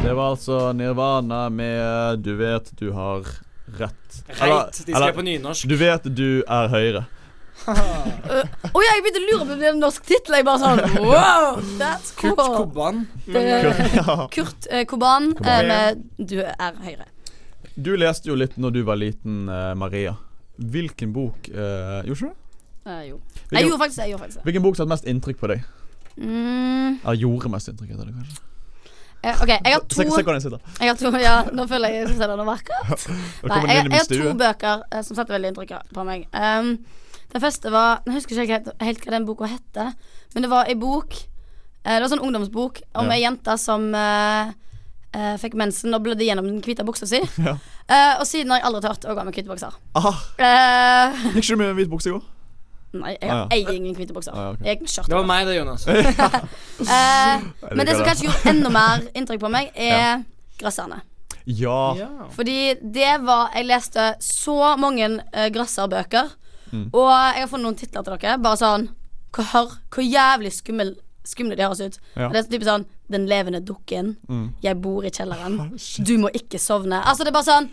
Speaker 2: Det var altså Nirvana med eh, Du vet du har rett.
Speaker 1: Heit. De skrev på nynorsk.
Speaker 2: Du vet du er høyre.
Speaker 3: Å ja, jeg begynte å lure på om det er en norsk tittel. Jeg bare sånn wow, that's cool.
Speaker 1: Kurt Koban.
Speaker 3: Det-
Speaker 2: Ja.
Speaker 3: Kurt eh, Koban eh, med Du er høyre.
Speaker 2: Du leste jo litt når du var liten, eh, Maria. Hvilken bok eh, Gjorde ikke du det?
Speaker 3: Eh, jo. Jeg
Speaker 2: Hvilken,
Speaker 3: gjorde faktisk det. Jeg gjorde faktisk det.
Speaker 2: hvilken bok satte mest inntrykk på deg?
Speaker 3: Mm,
Speaker 2: Ja, gjorde mest inntrykk etter det, kanskje.
Speaker 3: eh, OK, jeg har
Speaker 2: Se, se
Speaker 3: to
Speaker 2: hvordan jeg sitter.
Speaker 3: Jeg har to, ja, Nå føler jeg jeg skal se deg noe vakkert.
Speaker 2: Da
Speaker 3: Nei,
Speaker 2: kommer
Speaker 3: jeg,
Speaker 2: Nille
Speaker 3: jeg
Speaker 2: med
Speaker 3: har to
Speaker 2: stue.
Speaker 3: bøker eh, som satte veldig inntrykk på meg. Um, den første var Jeg husker ikke helt, helt hva den boka hette, men det var ei bok eh, Det var sånn ungdomsbok om
Speaker 2: Ja.
Speaker 3: ei jente som eh, eh, fikk mensen og blødde gjennom den hvite buksa si.
Speaker 2: Ja.
Speaker 3: Eh, og siden har jeg aldri turt å gå med hvite bukser.
Speaker 2: Aha,
Speaker 3: Eh,
Speaker 2: Gikk Ah, ikke du med hvit bukse i går?
Speaker 3: nei, jeg
Speaker 2: Ah, ja.
Speaker 3: eier ingen hvite bukser.
Speaker 2: Ah, ja, ok.
Speaker 3: Jeg gikk med skjørt.
Speaker 1: Det var meg, det, Jonas.
Speaker 3: Eh,
Speaker 2: Jeg
Speaker 3: men det
Speaker 2: liker
Speaker 3: som
Speaker 2: det.
Speaker 3: kanskje gjorde enda mer inntrykk på meg, er Grøsserne.
Speaker 2: Ja.
Speaker 1: Ja.
Speaker 3: Fordi det var Jeg leste så mange uh, Grøsser-bøker.
Speaker 2: Mm.
Speaker 3: Og jeg har funnet noen titler til dere. Bare sånn Hva, hør, hvor jævlig skummel, skumle de høres ut.
Speaker 2: Ja. Mm.
Speaker 3: Det er typisk sånn Den levende dukken. Jeg bor i kjelleren. Du må ikke sovne. Altså, det er bare sånn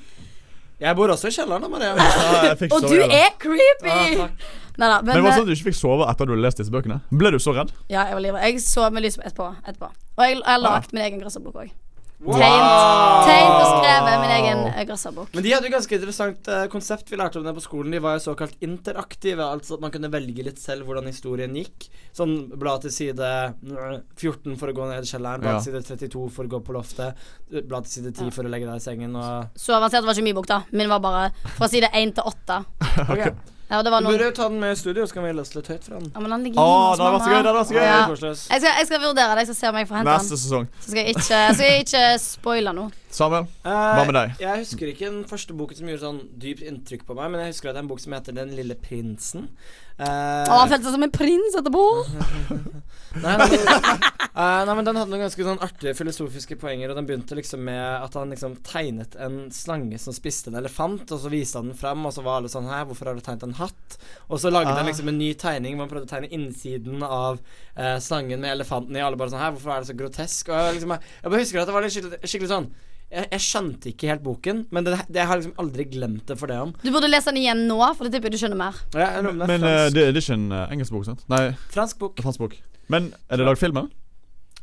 Speaker 1: Jeg bor også i kjelleren, da, Maria.
Speaker 2: Ah, jeg fikk
Speaker 3: Og
Speaker 2: så
Speaker 3: du
Speaker 2: jævla-
Speaker 3: er creepy!
Speaker 1: Ah,
Speaker 3: Neida, men,
Speaker 2: Men det var
Speaker 3: eh,
Speaker 2: sånn at du ikke fikk sove etter du hadde lest disse bøkene? Ble du så redd?
Speaker 3: ja, jeg var livredd. Jeg sov med lyset på etterpå. etterpå. Og jeg,
Speaker 2: Ah.
Speaker 3: jeg har lagd min egen grøsserbok òg.
Speaker 1: Wow.
Speaker 3: Tegnt, tegnt og skrevet min egen eh, grøsserbok.
Speaker 1: Men de hadde jo ganske interessant eh, konsept. Vi lærte om det på skolen. De var jo såkalt interaktive, altså at man kunne velge litt selv hvordan historien gikk. Sånn bla til side øh, 14 for å gå ned i kjelleren, bla
Speaker 2: Ja.
Speaker 1: til side 32 for å gå på loftet, eh, bla til side 10 for å legge deg i sengen og
Speaker 3: Så avansert var ikke min bok, da. Min var bare fra side én til åtte.
Speaker 1: Ok.
Speaker 3: Ja, og det var
Speaker 1: Du
Speaker 3: noen
Speaker 1: burde jo ta den med i studio, så kan vi lese litt høyt fra den.
Speaker 3: Ja, men han ligger
Speaker 2: Å,
Speaker 3: hjemme hos
Speaker 2: det hadde vært så
Speaker 3: mamma.
Speaker 2: gøy! Det hadde vært så gøy.
Speaker 3: Ja.
Speaker 1: Koselig, ass.
Speaker 3: Jeg skal, jeg skal vurdere det. Jeg skal se om jeg får hente
Speaker 2: Neste
Speaker 3: han.
Speaker 2: sesong.
Speaker 3: Så skal jeg ikke, skal jeg ikke spoile noe.
Speaker 2: Samuel,
Speaker 1: Eh,
Speaker 2: hva med deg?
Speaker 1: Jeg husker ikke den første boken som gjorde sånn dypt inntrykk på meg, men jeg husker at det er en bok som heter Den lille prinsen. Eh,
Speaker 3: Å, han følte seg som en prins etterpå.
Speaker 1: Nei, nei, Eh, nei, men Den hadde noen ganske sånn artige filosofiske poenger. Og Den begynte liksom med at han liksom tegnet en slange som spiste en elefant, og så viste han den fram, og så var alle sånn Hæ, hvorfor har du tegnet en hatt? Og så lagde
Speaker 2: Ah.
Speaker 1: han liksom en ny tegning hvor han prøvde å tegne innsiden av eh, slangen med elefanten i. Alle bare sånn Hæ, hvorfor er det så grotesk? Og jeg, liksom, jeg bare husker at det var litt skikkelig, skikkelig sånn jeg, jeg skjønte ikke helt boken, men det, det, jeg har liksom aldri glemt det for det om.
Speaker 3: Du burde lese den igjen nå, for det tipper jeg du skjønner mer.
Speaker 1: Og jeg- jeg lurer om det er
Speaker 2: Men eh, det,
Speaker 1: fransk,
Speaker 2: det er ikke en eh, engelsk bok, sant? Nei,
Speaker 1: fransk bok.
Speaker 2: fransk bok. Men er det lagd film, eller?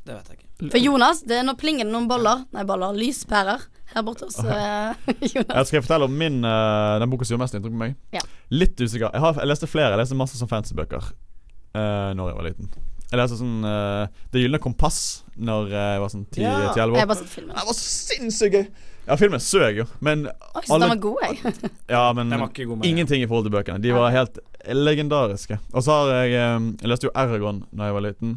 Speaker 1: Det vet jeg ikke.
Speaker 3: For Jonas, det er nå plinger det noen boller Nei, boller. Lyspærer her borte hos eh, Jonas.
Speaker 2: Jeg skal jeg fortelle om min, eh, den boka som gjorde mest inntrykk på meg?
Speaker 3: Ja.
Speaker 2: Litt usikker. Jeg, har, jeg leste flere. Jeg leste masse sånn fancy bøker uh, Når jeg var liten. Jeg leste sånn eh, Det gylne kompass Når jeg var sånn
Speaker 1: Ja.
Speaker 2: 10-11 år.
Speaker 3: Jeg har bare sett filmen.
Speaker 2: Den var så sinnssykt gøy! Ja, filmen søk jo, men
Speaker 3: Oi, så den var god, jeg.
Speaker 2: ja, men
Speaker 1: Den var ikke god, Maria.
Speaker 2: ingenting i forhold til bøkene. De var helt legendariske. Og så har jeg eh, Jeg leste jo Eragon da jeg var liten.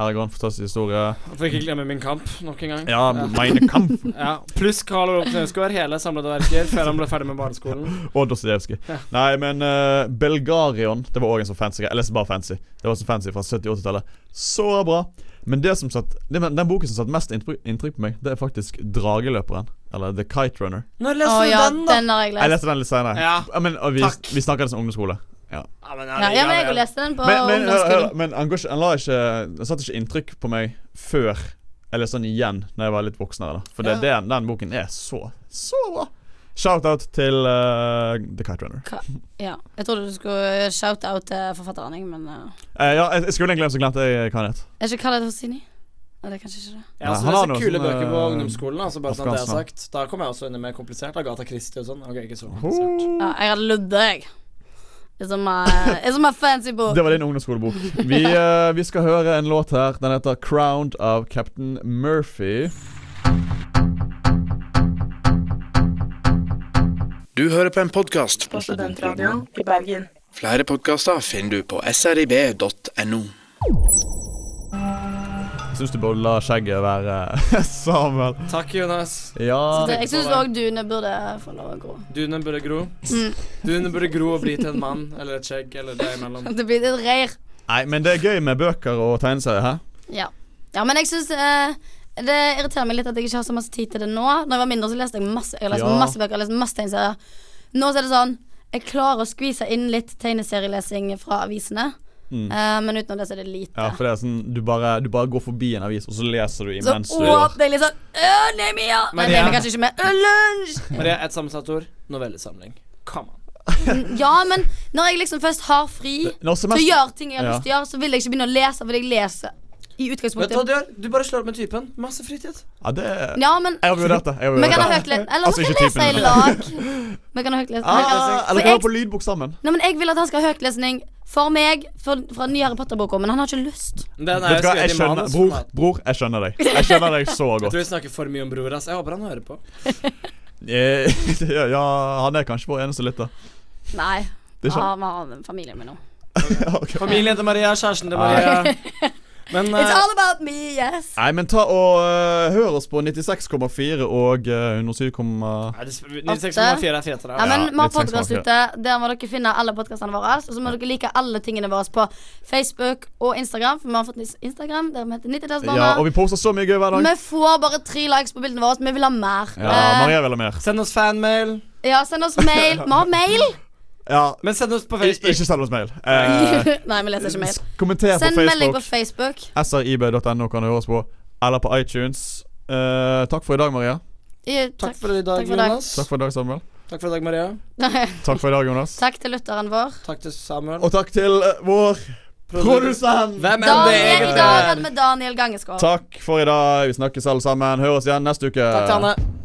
Speaker 2: Eragon, fantastisk historie.
Speaker 1: Får ikke glemme Min kamp nok en gang.
Speaker 2: Ja, Meine Kampf
Speaker 1: Ja, Pluss Karl Olof Knausgård, hele samlede verker, før han ble ferdig med barneskolen.
Speaker 2: og Dostojevskij. Nei, men eh, Belgarion Det var òg en sånn fancy greie. Jeg leste bare fancy. Det var så fancy fra 70-80-tallet. Så bra. Men det som satt, det, men den boken som satte mest inntrykk, inntrykk på meg, det er faktisk Drageløperen. Eller The Kite Runner.
Speaker 1: Når
Speaker 3: Å
Speaker 1: leser du
Speaker 3: ja,
Speaker 1: den, da?
Speaker 3: den har jeg
Speaker 2: Jeg
Speaker 3: lest.
Speaker 2: leste den litt senere.
Speaker 1: Ja.
Speaker 2: men, og vi,
Speaker 1: Takk.
Speaker 2: vi snakker det som ungdomsskole. Ja.
Speaker 1: Ja, men,
Speaker 3: Ja, ja, men jeg leste den på
Speaker 2: Men, men, hør, hør,
Speaker 3: ungdomsskolen.
Speaker 2: men han, går ikke, han la ikke Han satte ikke inntrykk på meg før Eller sånn igjen Når jeg var litt voksnere da For det, den, den boken er så Så bra Shout out til eh, The Kite Runner
Speaker 3: Hva- Ja. Jeg trodde du skulle shoute out til forfatteren, jeg, men eh,
Speaker 2: Eh, Ja, jeg, jeg skulle egentlig glemt Så glemte jeg hva han het
Speaker 3: Er ikke Khaled Hosseini? Nei, det er kanskje ikke det.
Speaker 1: Jeg har
Speaker 2: Nei, han har
Speaker 1: også
Speaker 2: noe
Speaker 1: lest kule
Speaker 2: sånn,
Speaker 1: bøker på
Speaker 2: eh,
Speaker 1: ungdomsskolen. Altså bare sånn at det er
Speaker 2: Afghanistan.
Speaker 1: sagt Da kom jeg også inn i mer komplisert. Agatha Christie og sånn. Ok, ikke så komplisert.
Speaker 3: Ja, jeg hadde ludd, jeg. It's on my, it's on my fancy book.
Speaker 2: Det var din ungdomsskolebok. Vi, eh, vi skal høre en låt her. Den heter 'Crowned' av Captain Murphy.
Speaker 6: Du hører på en podkast.
Speaker 7: på Studentradioen i Bergen.
Speaker 6: Flere podkaster finner du på srib.no.
Speaker 2: Syns du burde la skjegget være eh, Samuel.
Speaker 1: Takk, Jonas.
Speaker 2: Ja
Speaker 3: Så det- Jeg syns òg duene burde få lov å gro.
Speaker 1: Dune burde gro.
Speaker 3: Mm.
Speaker 1: Dune burde gro og bli til en mann eller et skjegg eller det imellom.
Speaker 3: Det blir et reir.
Speaker 2: Nei, men det er gøy med bøker og tegneserier, hæ?
Speaker 3: Ja. ja, men jeg syns eh, Det irriterer meg litt at jeg ikke har så masse tid til det nå. Når jeg var mindre, så leste jeg masse, jeg leste
Speaker 2: Ja.
Speaker 3: masse bøker. Jeg leste masse tegneserier. Nå så er det sånn Jeg klarer å skvise inn litt tegneserielesing fra avisene. Eh, men utenom det så er det lite.
Speaker 2: Mm. Ja, for det er sånn du bare, du bare går forbi en avis, og så leser du
Speaker 3: så
Speaker 2: imens du
Speaker 3: åh, det er litt sånn øh, Nei, men ja. Nei,
Speaker 1: Men
Speaker 3: det
Speaker 1: ja.
Speaker 3: er kanskje ikke med. Øh, lunsj!
Speaker 1: Maria, et sammensatt ord. Novellesamling. Come on.
Speaker 3: Ja, men når jeg liksom først har fri,
Speaker 2: Når som
Speaker 3: så
Speaker 2: helst-
Speaker 3: gjør ting jeg har
Speaker 2: Ja.
Speaker 3: lyst til å gjøre, så vil jeg ikke begynne å lese, for jeg leser i
Speaker 1: Vet du hva
Speaker 3: utgangspunktet.
Speaker 1: du gjør? Du bare slår opp med typen. Masse fritid.
Speaker 2: Ja, det er
Speaker 3: Ja, men
Speaker 2: Jeg har vurdert det. Jeg har
Speaker 3: Vi
Speaker 2: vurdert
Speaker 3: kan ha
Speaker 2: det.
Speaker 3: høytlese Eller
Speaker 2: Altså,
Speaker 3: vi
Speaker 2: ikke
Speaker 3: kan lese
Speaker 2: typen.
Speaker 3: i lag. Vi kan ha høytlese
Speaker 1: altså,
Speaker 2: Ah,
Speaker 3: For
Speaker 2: eller kan
Speaker 3: altså, jeg,
Speaker 2: høre på lydbok sammen.
Speaker 3: nei, men jeg vil at han skal ha høytlesning for meg for, fra den nye Harry Potter-boka, men han har ikke lyst.
Speaker 1: Den er
Speaker 2: Vet du hva,
Speaker 1: jo
Speaker 2: jeg
Speaker 1: skrevet i
Speaker 2: skjønner,
Speaker 1: manus.
Speaker 2: bror,
Speaker 1: Jeg
Speaker 2: bror, jeg skjønner deg. Jeg skjønner deg så godt.
Speaker 1: tror vi snakker for mye om bror, ass. Jeg håper han hører på.
Speaker 2: Eh, ja, ja, han er kanskje vår eneste lytter.
Speaker 3: Nei.
Speaker 2: Det er sant.
Speaker 3: Han har familien min nå.
Speaker 2: Ok.
Speaker 1: Familien til Maria, kjæresten til Maria. Men
Speaker 3: It's
Speaker 1: eh,
Speaker 3: all about me, yes.
Speaker 2: Nei, men ta og eh, hør oss på 96,4 og eh, 107,4.
Speaker 1: nei, det sp- 96,4 er fetere.
Speaker 3: Ja, men
Speaker 2: Ja,
Speaker 3: Vi har
Speaker 2: litt seks
Speaker 3: podkast
Speaker 2: bak,
Speaker 3: ute. Der må dere finne alle podkastene våre. Og så må dere like alle tingene våre på Facebook og Instagram. For vi har fått nis- Instagram der vi heter
Speaker 2: Ja, og
Speaker 3: Nittedalsbarna.
Speaker 2: vi poster så mye gøy hver dag.
Speaker 3: Vi får bare tre likes på bildene våre. så Vi vil ha mer.
Speaker 2: Ja, Maria vil ha mer.
Speaker 1: Send oss fanmail.
Speaker 3: Eh, ja send oss mail. Vi har mail.
Speaker 2: Ja,
Speaker 1: Men send oss på
Speaker 2: i-
Speaker 1: Facebook.
Speaker 2: ikke send oss mail. Eh,
Speaker 3: Nei, vi leser ikke mail.
Speaker 2: s- kommenter på
Speaker 3: Send melding på
Speaker 2: Facebook.
Speaker 3: Facebook.
Speaker 2: srib.no kan du høre oss på. Eller på iTunes. Eh, takk for i dag, Maria.
Speaker 3: I-
Speaker 1: Takk for i
Speaker 3: Takk
Speaker 1: dag,
Speaker 3: for i dag.
Speaker 1: Jonas.
Speaker 2: Takk for i dag, Samuel.
Speaker 1: Takk for i dag, Maria.
Speaker 2: Takk for i dag, Jonas.
Speaker 3: Takk til lytteren vår.
Speaker 1: Takk til Samuel.
Speaker 2: Og takk til eh, vår produsent.
Speaker 1: Hvem enn det
Speaker 3: Daniel, I
Speaker 1: egentlig
Speaker 3: dag
Speaker 1: er.
Speaker 3: hadde vi Daniel Gangeskår.
Speaker 2: Takk for i dag. Vi snakkes alle sammen. Hør oss igjen neste uke.
Speaker 1: Takk til Hanne.